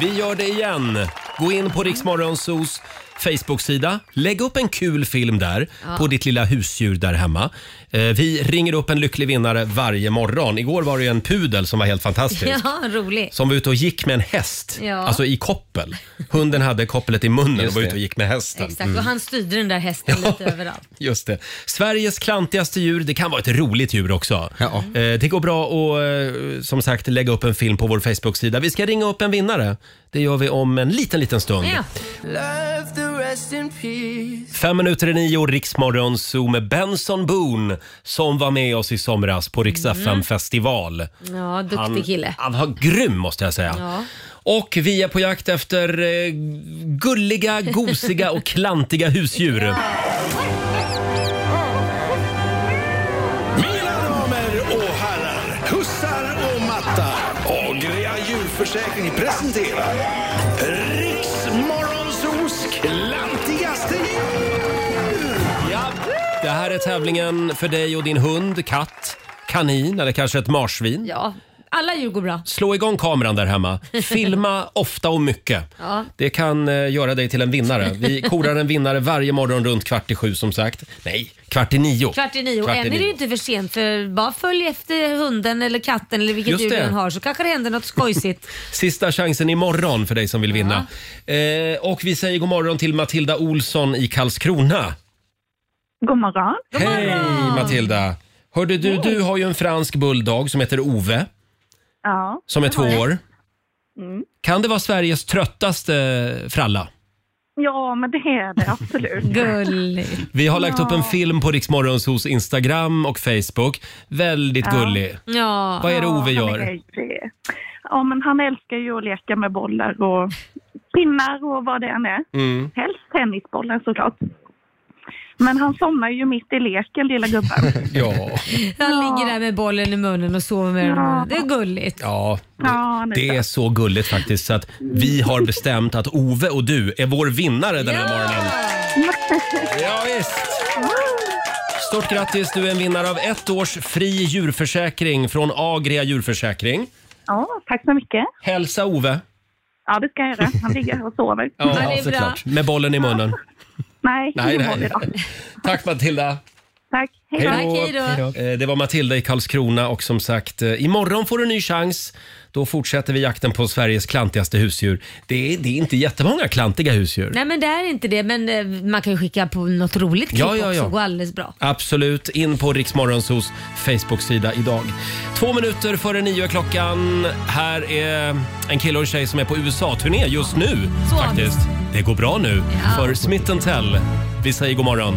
S1: Vi gör det igen. Gå in på Riksmorgonsos Facebook-sida. Lägg upp en kul film där
S11: Ja.
S1: på ditt lilla husdjur där hemma. Eh, Vi ringer upp en lycklig vinnare varje morgon. Igår var det ju en pudel som var helt fantastisk.
S2: Ja, rolig.
S1: Som var ute och gick med en häst,
S2: Ja.
S1: alltså i koppel. Hunden hade kopplet i munnen och var ute och gick med hästen.
S2: Exakt, och han styrde den där hästen lite överallt.
S1: Just det. Sveriges klantigaste djur, det kan vara ett roligt djur också. Eh, Det går bra att eh, som sagt lägga upp en film på vår Facebook-sida. Vi ska ringa upp en vinnare. Det gör vi om en liten, liten stund.
S12: Love the rest in peace.
S1: Fem minuter i nio, Riksmorgon Zoo med Benson Boone som var med oss i somras på Rix
S2: Mm.
S1: FM-festival.
S2: Ja, duktig kille.
S1: Han var grym måste jag säga.
S2: Ja.
S1: Och vi är på jakt efter eh, gulliga, gosiga och klantiga husdjur.
S3: Mina damer och herrar, hussar och matta. Agria djurförsäkring presenterar Riksmorgonsos klantigaste djur.
S1: Det här är tävlingen för dig och din hund, katt, kanin eller kanske ett marsvin.
S2: Ja, alla djur går bra.
S1: Slå igång kameran där hemma. Filma ofta och mycket.
S2: Ja.
S1: Det kan eh, göra dig till en vinnare. Vi korar en vinnare varje morgon runt kvart i sju som sagt. Nej, kvart i nio.
S2: Kvart i nio. Och
S1: Kvart i
S2: än är det
S1: nio.
S2: ju inte för sent för bara följ efter hunden eller katten eller vilket
S1: Just
S2: djur du
S1: det.
S2: än har så kanske det händer något skojsigt.
S1: Sista chansen imorgon för dig som vill vinna. Eh, och vi säger god morgon till Matilda Olsson i Karlskrona.
S4: God morgon.
S1: Hej Matilda! Hörde du, du har ju en fransk bulldog som heter Ove,
S4: Ja.
S1: som är två år.
S4: Mm.
S1: Kan det vara Sveriges tröttaste eh, fralla?
S4: Ja, men det är det absolut.
S2: Gulligt.
S1: Vi har lagt upp en film på Riksmorgons hos Instagram och Facebook. Väldigt gullig.
S2: Ja.
S1: Vad är det Ove
S4: Ja,
S1: gör?
S4: han är gullig. Ja, men han älskar ju att leka med bollar och pinnar och vad det än är.
S1: Mm.
S4: Helst tennisbollen såklart. Men han somnar ju mitt i leken, lilla gubben.
S1: Ja.
S2: Han ligger där med bollen i munnen och sover med den i munnen. Det är gulligt.
S1: Ja,
S4: Ja, han
S1: det är så gulligt faktiskt så att vi har bestämt att Ove och du är vår vinnare den här morgonen. Ja, visst. Stort grattis, du är en vinnare av ett års fri djurförsäkring från Agria djurförsäkring.
S4: Ja, tack så mycket.
S1: Hälsa Ove.
S4: Ja, det ska jag göra. Han ligger och sover.
S1: såklart. Med bollen i munnen.
S4: Nej, nej,
S1: Nej, nej.
S4: nej. Idag.
S1: Tack Matilda.
S4: Tack. Hej då.
S1: Eh, Det var Matilda i Karlskrona och som sagt, eh, imorgon får du en ny chans. Då fortsätter vi jakten på Sveriges klantigaste husdjur. Det är, det är inte jättemånga klantiga husdjur.
S2: Nej men det är inte det, men eh, man kan ju skicka på något roligt klipp
S1: Ja, ja, ja.
S2: också. går alldeles bra.
S1: Absolut, in på Riksmorgonsos Facebook-sida idag. Två minuter före nio är klockan. Här är en kille och en tjej som är på USA-turné just nu.
S2: Så.
S1: faktiskt. Det går bra nu för Smith Tell. Vi säger god morgon.